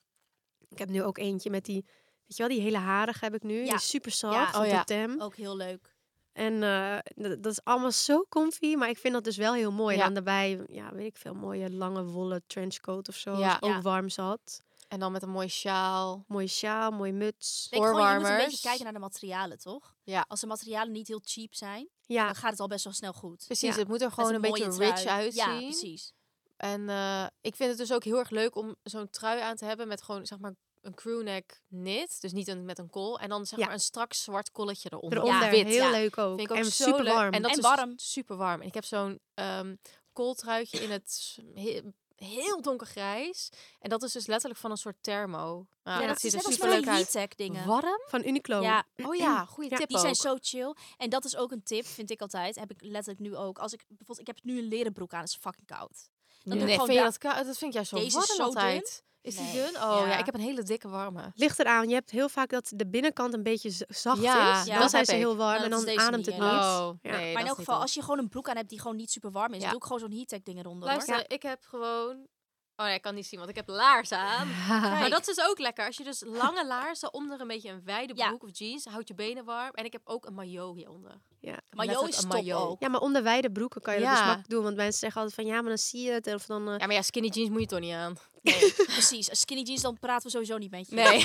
Speaker 3: Ik heb nu ook eentje met die, weet je wel, die hele harige heb ik nu.
Speaker 2: Ja.
Speaker 3: Die is super zacht,
Speaker 2: Ja.
Speaker 3: van
Speaker 1: Oh ja.
Speaker 3: Totem.
Speaker 2: Ook heel leuk.
Speaker 3: En eh, d- dat is allemaal zo comfy, maar ik vind dat dus wel heel mooi.
Speaker 1: Ja.
Speaker 3: En dan daarbij, ja, weet ik veel, mooie lange wollen trenchcoat of zo.
Speaker 1: Ja.
Speaker 3: Als ook
Speaker 2: Ja.
Speaker 3: warm zat.
Speaker 1: En dan met een mooie sjaal.
Speaker 3: Mooie sjaal, mooie muts.
Speaker 2: Ik Denk gewoon, je moet een beetje
Speaker 1: Oorwarmers.
Speaker 2: kijken naar de materialen, toch?
Speaker 1: Ja.
Speaker 2: Als de materialen niet heel cheap zijn,
Speaker 3: Ja,
Speaker 2: dan gaat het al best wel snel goed.
Speaker 1: Precies,
Speaker 3: Ja.
Speaker 1: het moet er gewoon een,
Speaker 2: Met
Speaker 1: beetje
Speaker 2: mooie
Speaker 1: rich
Speaker 2: trui.
Speaker 1: uitzien.
Speaker 2: Ja, precies.
Speaker 1: En eh, ik vind het dus ook heel erg leuk om zo'n trui aan te hebben met gewoon zeg maar een crewneck knit, dus niet een, met een kool. En dan zeg
Speaker 3: Ja.
Speaker 1: maar een strak zwart kolletje eronder.
Speaker 3: eronder.
Speaker 2: Ja.
Speaker 1: wit.
Speaker 3: Heel
Speaker 2: Ja.
Speaker 3: leuk ook.
Speaker 1: Vind ik ook
Speaker 3: en
Speaker 1: zo
Speaker 3: super
Speaker 1: leuk.
Speaker 3: warm.
Speaker 1: En dat
Speaker 2: En
Speaker 1: is
Speaker 2: warm.
Speaker 1: super warm. En ik heb zo'n ehm kooltruitje in het s- he- heel donkergrijs. En dat is dus letterlijk van een soort thermo. Nou,
Speaker 2: Ja,
Speaker 1: dat
Speaker 2: dat
Speaker 1: ziet
Speaker 2: is
Speaker 1: er
Speaker 2: net als
Speaker 1: super
Speaker 2: van die
Speaker 1: leuk uit.
Speaker 2: heat dingen.
Speaker 1: Warm?
Speaker 3: Van Uniqlo.
Speaker 2: Ja,
Speaker 1: Oh ja, goede
Speaker 3: Ja.
Speaker 1: tip
Speaker 2: die zijn
Speaker 1: ook.
Speaker 2: zo chill. En dat is ook een tip, vind ik altijd. Heb ik letterlijk nu ook. Als ik bijvoorbeeld, ik heb nu een leren broek aan, is fucking koud. Dan doe ik
Speaker 1: nee,
Speaker 2: gewoon
Speaker 1: vind je
Speaker 2: daar-
Speaker 1: dat, kou- dat vind ik juist zo
Speaker 2: Deze is
Speaker 1: warm
Speaker 2: zo dun.
Speaker 1: altijd. Is die
Speaker 2: Nee.
Speaker 1: dun? Oh ja.
Speaker 2: Ja.
Speaker 1: ik heb een hele dikke warme.
Speaker 3: Ligt eraan, je hebt heel vaak dat de binnenkant een beetje z- zacht
Speaker 1: Ja,
Speaker 3: is.
Speaker 2: ja,
Speaker 3: Dan
Speaker 1: dat
Speaker 3: zijn
Speaker 1: heb
Speaker 3: ze
Speaker 1: ik.
Speaker 3: heel warm
Speaker 2: Nou,
Speaker 3: en
Speaker 2: dat is
Speaker 3: dan
Speaker 2: deze
Speaker 3: ademt
Speaker 2: niet,
Speaker 3: het
Speaker 2: hè.
Speaker 3: niet.
Speaker 1: Oh,
Speaker 3: [laughs]
Speaker 1: nee,
Speaker 3: Ja.
Speaker 2: maar in
Speaker 1: dat
Speaker 2: elk
Speaker 1: is niet
Speaker 2: geval,
Speaker 1: dan.
Speaker 2: als je gewoon een broek aan hebt die gewoon niet super warm is,
Speaker 1: Ja.
Speaker 2: doe ik gewoon zo'n heattech ding eronder. hoor.
Speaker 1: Luister, ik heb gewoon... Oh nee, ik kan niet zien, want ik heb laars aan. Maar dat is dus ook lekker. Als je dus lange laarzen onder een beetje een wijde
Speaker 2: Ja.
Speaker 1: broek of jeans, houdt je benen warm. En ik heb ook een maillot hieronder.
Speaker 3: Ja.
Speaker 2: Maar Jo
Speaker 1: Letterlijk
Speaker 2: is
Speaker 1: een
Speaker 2: top
Speaker 1: maillot.
Speaker 2: ook.
Speaker 3: ja, maar onder wijde broeken kan je dat dus
Speaker 1: Ja.
Speaker 3: makkelijk doen. Want mensen zeggen altijd van, ja, maar dan zie je het. Of dan, eh,
Speaker 1: Ja, maar ja, skinny jeans moet je toch niet aan?
Speaker 2: Nee, precies. Als Skinny jeans, dan praten we sowieso niet met je.
Speaker 1: Nee.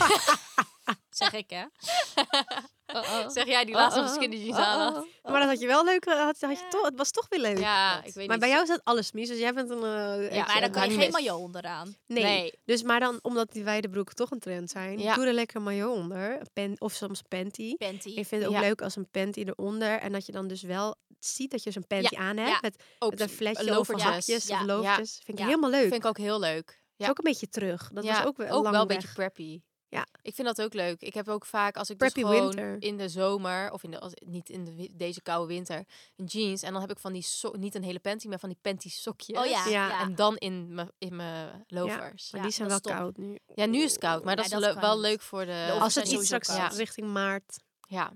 Speaker 2: Zeg ik, hè?
Speaker 1: [laughs] Zeg jij die laatste
Speaker 3: Oh,
Speaker 1: nog
Speaker 3: oh.
Speaker 1: skinny jeans
Speaker 3: Oh,
Speaker 1: aan had.
Speaker 3: oh. Maar dat had je wel leuk. eh, Had, had je toch, het was toch weer leuk.
Speaker 1: Ja, ik weet
Speaker 3: maar
Speaker 1: niet.
Speaker 3: bij jou staat alles mis. Dus jij bent een. eh,
Speaker 1: Ja,
Speaker 3: ik-
Speaker 1: eh,
Speaker 2: maar dan kan je
Speaker 1: hang
Speaker 2: geen
Speaker 1: mis.
Speaker 2: maillot onderaan.
Speaker 3: Nee.
Speaker 1: Nee.
Speaker 3: Dus maar dan, omdat die wijde broeken toch een trend zijn,
Speaker 1: Ja.
Speaker 3: doe er lekker een maillot onder. Een pen, of soms panty.
Speaker 2: Panty.
Speaker 3: Ik vind het ook
Speaker 1: Ja.
Speaker 3: leuk als een panty eronder. En dat je dan dus wel ziet dat je zo'n panty aan hebt.
Speaker 2: ja.
Speaker 3: Met,
Speaker 1: Ook
Speaker 3: met een fletje of
Speaker 1: lovertjes.
Speaker 3: hakjes
Speaker 2: Ja,
Speaker 3: of
Speaker 2: ja.
Speaker 3: loofjes. Vind ik
Speaker 2: Ja.
Speaker 3: helemaal leuk.
Speaker 1: Vind ik ook heel leuk.
Speaker 3: Het is ook een beetje terug. Dat
Speaker 1: Ja,
Speaker 3: was ook wel lang
Speaker 1: wel een
Speaker 3: weg.
Speaker 1: beetje preppy.
Speaker 3: Ja.
Speaker 1: Ik vind dat ook leuk. Ik heb ook vaak als ik dus
Speaker 3: Preppy
Speaker 1: gewoon
Speaker 3: winter.
Speaker 1: in de zomer of in de als, niet in de, wi- deze koude winter een jeans en dan heb ik van die so niet een hele panty, maar van die panty sokjes.
Speaker 2: Oh ja.
Speaker 3: Ja,
Speaker 2: ja.
Speaker 1: En dan in mijn in mijn loafers. Ja.
Speaker 3: Maar
Speaker 2: Ja,
Speaker 3: die zijn wel
Speaker 2: dat is top.
Speaker 3: koud nu.
Speaker 1: nu is het koud, maar dat
Speaker 2: Ja,
Speaker 1: is
Speaker 2: dat
Speaker 1: le-
Speaker 2: kan
Speaker 1: wel
Speaker 2: niet.
Speaker 1: leuk voor de
Speaker 2: Loafers
Speaker 3: Als het
Speaker 2: zijn
Speaker 3: iets
Speaker 2: sowieso
Speaker 3: straks
Speaker 1: koud.
Speaker 3: richting maart,
Speaker 1: ja.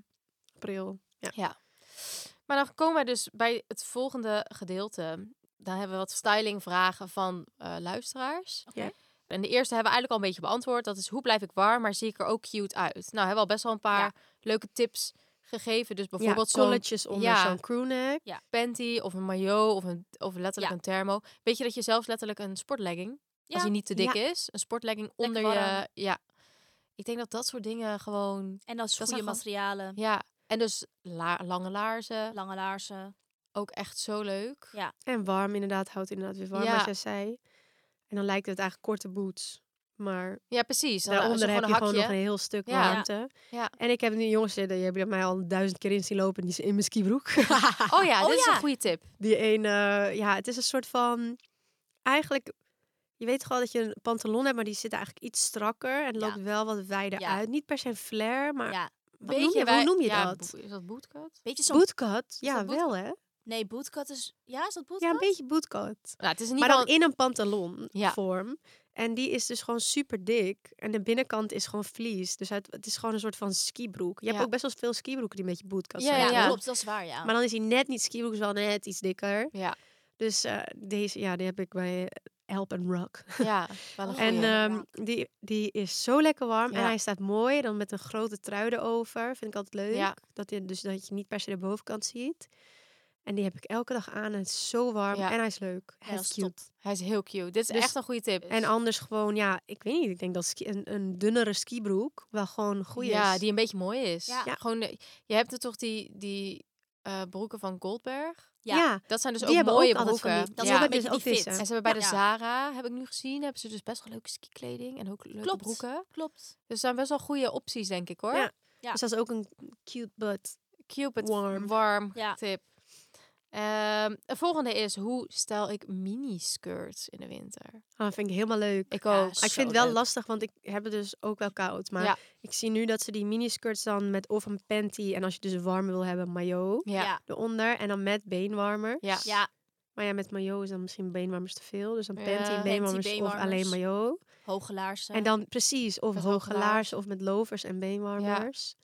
Speaker 3: april.
Speaker 1: Maar dan komen wij dus bij het volgende gedeelte. Dan hebben we wat stylingvragen van eh, luisteraars.
Speaker 3: Oké.
Speaker 1: En de eerste hebben we eigenlijk al een beetje beantwoord. Dat is hoe blijf ik warm, maar zie ik er ook cute uit? Nou, hebben we al best wel een paar leuke tips gegeven. Dus bijvoorbeeld
Speaker 3: ja,
Speaker 1: zo'n
Speaker 3: colletjes onder
Speaker 1: ja.
Speaker 3: zo'n crewneck.
Speaker 1: panty of een maillot of, een, of letterlijk
Speaker 2: Ja.
Speaker 1: een thermo. Weet je dat je zelfs letterlijk een sportlegging,
Speaker 2: Ja.
Speaker 1: als die niet te dik
Speaker 3: Ja.
Speaker 1: is, een sportlegging onder
Speaker 2: warm.
Speaker 1: je... Ja. Ik denk dat dat soort dingen gewoon...
Speaker 2: En als
Speaker 1: zijn
Speaker 2: goede
Speaker 1: gewoon-
Speaker 2: materialen,
Speaker 1: Ja. En dus la- lange laarzen,
Speaker 2: lange laarzen.
Speaker 1: ook echt zo leuk.
Speaker 2: Ja.
Speaker 3: En warm inderdaad, houdt inderdaad weer warm,
Speaker 1: Ja.
Speaker 3: als jij zei. En dan lijkt het eigenlijk korte boots. Maar
Speaker 1: Ja, precies. Dan
Speaker 3: daaronder
Speaker 1: is er
Speaker 3: heb je
Speaker 1: gewoon
Speaker 3: gewoon
Speaker 1: een
Speaker 3: nog een
Speaker 1: hakje.
Speaker 3: heel stuk
Speaker 1: Ja.
Speaker 3: warmte.
Speaker 1: Ja.
Speaker 3: En ik heb nu jongens, eh, die hebben mij al duizend keer in zien lopen. Die is in mijn
Speaker 1: [laughs]
Speaker 3: skibroek.
Speaker 1: Oh ja,
Speaker 2: Oh
Speaker 1: dit is
Speaker 2: ja.
Speaker 1: een goede tip.
Speaker 3: die ene, ja, het is een soort van... Eigenlijk, je weet gewoon dat je een pantalon hebt, maar die zit eigenlijk iets strakker. En
Speaker 2: Ja.
Speaker 3: loopt wel wat wijder
Speaker 2: Ja.
Speaker 3: uit. Niet per se een flare, maar
Speaker 2: Ja.
Speaker 3: wat noem je, hoe
Speaker 1: wij-
Speaker 3: noem je
Speaker 1: ja,
Speaker 3: dat?
Speaker 1: bo- Is dat bootcut?
Speaker 2: Beetje zo'n...
Speaker 3: Bootcut? Ja,
Speaker 2: dat boot-
Speaker 3: wel hè?
Speaker 2: Nee, bootcut is... Ja, is dat bootcut?
Speaker 3: Ja, een beetje bootcut.
Speaker 1: Nou, het is in
Speaker 3: Maar
Speaker 1: ieder
Speaker 3: dan
Speaker 1: geval...
Speaker 3: in een pantalon
Speaker 1: Ja.
Speaker 3: vorm. En die is dus gewoon super dik. En de binnenkant is gewoon vlies. Dus het, het is gewoon een soort van skibroek. Je
Speaker 1: Ja.
Speaker 3: hebt ook best wel veel skibroeken die een beetje bootcut
Speaker 1: Ja,
Speaker 3: zijn.
Speaker 2: Ja,
Speaker 1: ja.
Speaker 2: klopt. Dat is waar, ja.
Speaker 3: Maar dan is hij net niet skibroek, is wel net iets dikker.
Speaker 1: Ja.
Speaker 3: Dus eh, deze, ja, die heb ik bij Help and Rock.
Speaker 1: Oh, Ja, wel een
Speaker 3: En
Speaker 1: goeie.
Speaker 3: ehm, die, die is zo lekker warm. En
Speaker 1: Ja.
Speaker 3: hij staat mooi. Dan met een grote trui erover. Vind ik altijd leuk.
Speaker 1: Ja.
Speaker 3: Dat, je, dus dat je niet per se de bovenkant ziet. En die heb ik elke dag aan. En het is zo warm.
Speaker 1: Ja.
Speaker 3: En hij is leuk. Hij
Speaker 2: dat
Speaker 3: is
Speaker 2: is
Speaker 3: cute.
Speaker 2: top.
Speaker 1: Hij is heel cute. Dit is
Speaker 3: dus-
Speaker 1: echt een goede tip.
Speaker 3: En anders gewoon, ja, ik weet niet. Ik denk dat ski- een, een dunnere skibroek wel gewoon goed
Speaker 1: Ja,
Speaker 3: is.
Speaker 1: die een beetje mooi is.
Speaker 2: Ja.
Speaker 3: Ja.
Speaker 1: Gewoon, de- je hebt er toch die, die eh, broeken van Goldberg?
Speaker 2: Ja.
Speaker 1: Dat zijn dus
Speaker 3: die
Speaker 1: ook
Speaker 3: hebben
Speaker 1: mooie
Speaker 3: ook altijd van
Speaker 1: broeken.
Speaker 3: die- dat
Speaker 1: ja.
Speaker 3: is ook
Speaker 2: een
Speaker 3: bij
Speaker 2: beetje
Speaker 3: dus ook
Speaker 2: die fit.
Speaker 3: deze.
Speaker 1: En ze hebben bij de
Speaker 2: Ja.
Speaker 1: Zara, heb ik nu gezien, hebben ze dus best wel leuke skikleding en ook leuke
Speaker 2: Klopt.
Speaker 1: broeken.
Speaker 2: Klopt.
Speaker 1: Dus er zijn best wel goede opties, denk ik hoor.
Speaker 3: Ja.
Speaker 2: Ja.
Speaker 3: Dus dat is ook een cute butt.
Speaker 1: Cupid warm,
Speaker 3: Warm.
Speaker 2: Ja.
Speaker 1: tip. Ehm, de volgende is, hoe stel ik miniskirts in de winter?
Speaker 3: Ah, vind ik helemaal leuk.
Speaker 1: Ik
Speaker 2: Ja,
Speaker 1: ook.
Speaker 3: Maar ik
Speaker 2: Zo
Speaker 3: vind het wel
Speaker 1: leuk.
Speaker 3: lastig, want ik heb het dus ook wel koud. Maar
Speaker 1: Ja.
Speaker 3: ik zie nu dat ze die miniskirts dan met of een panty... en als je dus warm wil hebben, een maillot
Speaker 1: Ja.
Speaker 2: Ja.
Speaker 3: eronder. En dan met beenwarmers.
Speaker 1: Ja.
Speaker 2: Ja.
Speaker 3: Maar ja, met maillot is dan misschien beenwarmers te veel. Dus dan
Speaker 1: Ja.
Speaker 3: panty,
Speaker 1: Panty,
Speaker 3: beenwarmers, of
Speaker 2: beenwarmers.
Speaker 3: alleen maillot.
Speaker 2: Hoge laarzen.
Speaker 3: En dan precies, of
Speaker 1: Met
Speaker 3: hoge
Speaker 1: hoge
Speaker 3: laarzen of met lovers en beenwarmers.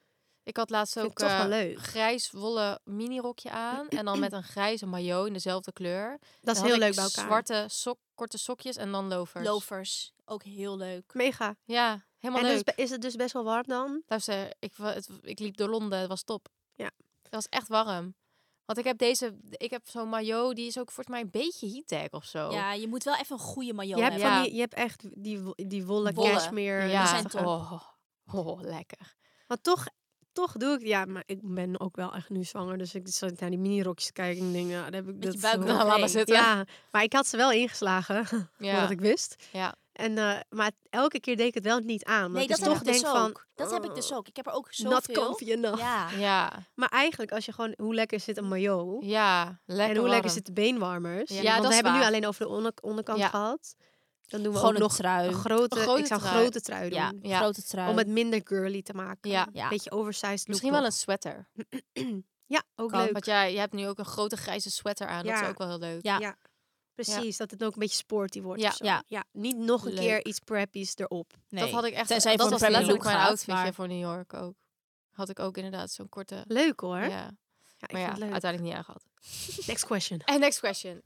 Speaker 1: Ik had laatst
Speaker 3: Vind
Speaker 1: ook
Speaker 3: ik toch wel
Speaker 1: eh,
Speaker 3: leuk.
Speaker 1: grijs wollen minirokje aan. En dan met een grijze maillot in dezelfde kleur.
Speaker 3: Dat is
Speaker 1: Dan
Speaker 3: heel
Speaker 1: had
Speaker 3: leuk
Speaker 1: ik
Speaker 3: bij elkaar.
Speaker 1: Zwarte sok, korte sokjes en dan lovers.
Speaker 2: Lovers. Ook heel leuk.
Speaker 3: Mega.
Speaker 1: Ja, helemaal
Speaker 3: en
Speaker 1: leuk.
Speaker 3: dus be- is het dus best wel warm dan?
Speaker 1: Luister, ik, wa- het, ik liep door Londen, het was top.
Speaker 3: Ja.
Speaker 1: Het was echt warm. Want ik heb deze, ik heb zo'n maillot, die is ook volgens mij een beetje heattech of zo.
Speaker 2: Ja, je moet wel even een goede maillot
Speaker 3: Je hebt,
Speaker 2: hebben.
Speaker 1: Oh. Ja.
Speaker 3: van die, je hebt echt die, wo- die wollen
Speaker 2: Wollen.
Speaker 3: cashmere.
Speaker 1: ja.
Speaker 2: die zijn top.
Speaker 1: Oh, oh, lekker.
Speaker 3: Maar toch, toch doe ik... Ja, maar ik ben ook wel echt nu zwanger. Dus ik zat naar die minirokjes te kijken en ik denk... Ja, dat heb ik
Speaker 2: Met
Speaker 3: dat
Speaker 2: je
Speaker 3: is
Speaker 2: buik
Speaker 3: zo-
Speaker 2: nog
Speaker 1: Nou, laat maar
Speaker 2: mee.
Speaker 1: zitten.
Speaker 3: Ja, maar ik had ze wel ingeslagen, [laughs]
Speaker 1: ja.
Speaker 3: voordat ik wist.
Speaker 1: Ja.
Speaker 3: En, eh, maar elke keer deed ik het wel niet aan.
Speaker 2: Nee,
Speaker 3: want
Speaker 2: dat
Speaker 3: ik
Speaker 2: heb
Speaker 3: toch
Speaker 2: ik dus
Speaker 3: denk van...
Speaker 2: ook. Dat heb ik dus ook. Ik heb er ook
Speaker 3: "Oh, Not
Speaker 2: zoveel.
Speaker 3: comfy enough.
Speaker 2: Ja.
Speaker 1: ja,
Speaker 3: Maar eigenlijk, als je gewoon... Hoe lekker zit een maillot?
Speaker 1: ja, lekker
Speaker 3: en hoe lekker
Speaker 1: warm.
Speaker 3: zitten beenwarmers?
Speaker 1: Ja,
Speaker 3: Want
Speaker 1: dat
Speaker 3: we
Speaker 1: is
Speaker 3: hebben nu
Speaker 1: waar.
Speaker 3: alleen over de onder- onderkant
Speaker 1: Ja.
Speaker 3: gehad. Dan doen we
Speaker 2: Gewoon
Speaker 3: ook
Speaker 2: een
Speaker 3: nog
Speaker 2: trui.
Speaker 3: een grote...
Speaker 1: Een grote
Speaker 3: ik zou een
Speaker 1: trui.
Speaker 3: grote trui doen.
Speaker 2: Ja, Oh,
Speaker 1: Ja.
Speaker 2: grote trui.
Speaker 3: Om het minder girly te maken.
Speaker 1: Ja.
Speaker 2: Ja.
Speaker 3: Beetje oversized look
Speaker 1: Misschien wel
Speaker 3: nog.
Speaker 1: een sweater.
Speaker 3: Ja, ook
Speaker 1: Kan,
Speaker 3: leuk.
Speaker 1: want jij, jij hebt nu ook een grote grijze sweater aan. Dat is
Speaker 3: Ja.
Speaker 1: ook wel heel leuk.
Speaker 2: Ja.
Speaker 3: Precies, dat het ook een beetje sporty wordt.
Speaker 1: Ja.
Speaker 3: of zo.
Speaker 2: Ja.
Speaker 3: ja. Niet nog een
Speaker 1: Leuk.
Speaker 3: keer iets preppies erop.
Speaker 2: nee.
Speaker 1: Dat had ik echt.
Speaker 2: Tenzij je
Speaker 1: dat
Speaker 2: voor
Speaker 1: was
Speaker 2: een preppy
Speaker 1: letterlijk
Speaker 2: look
Speaker 1: mijn
Speaker 2: gaat,
Speaker 1: outfitje
Speaker 2: maar-
Speaker 1: voor New York ook. Had ik ook inderdaad zo'n korte.
Speaker 3: Leuk hoor. Ja,
Speaker 1: Ja,
Speaker 3: ik
Speaker 1: maar ja,
Speaker 3: vind het leuk.
Speaker 1: uiteindelijk niet aangehad.
Speaker 3: Next question.
Speaker 1: En next question.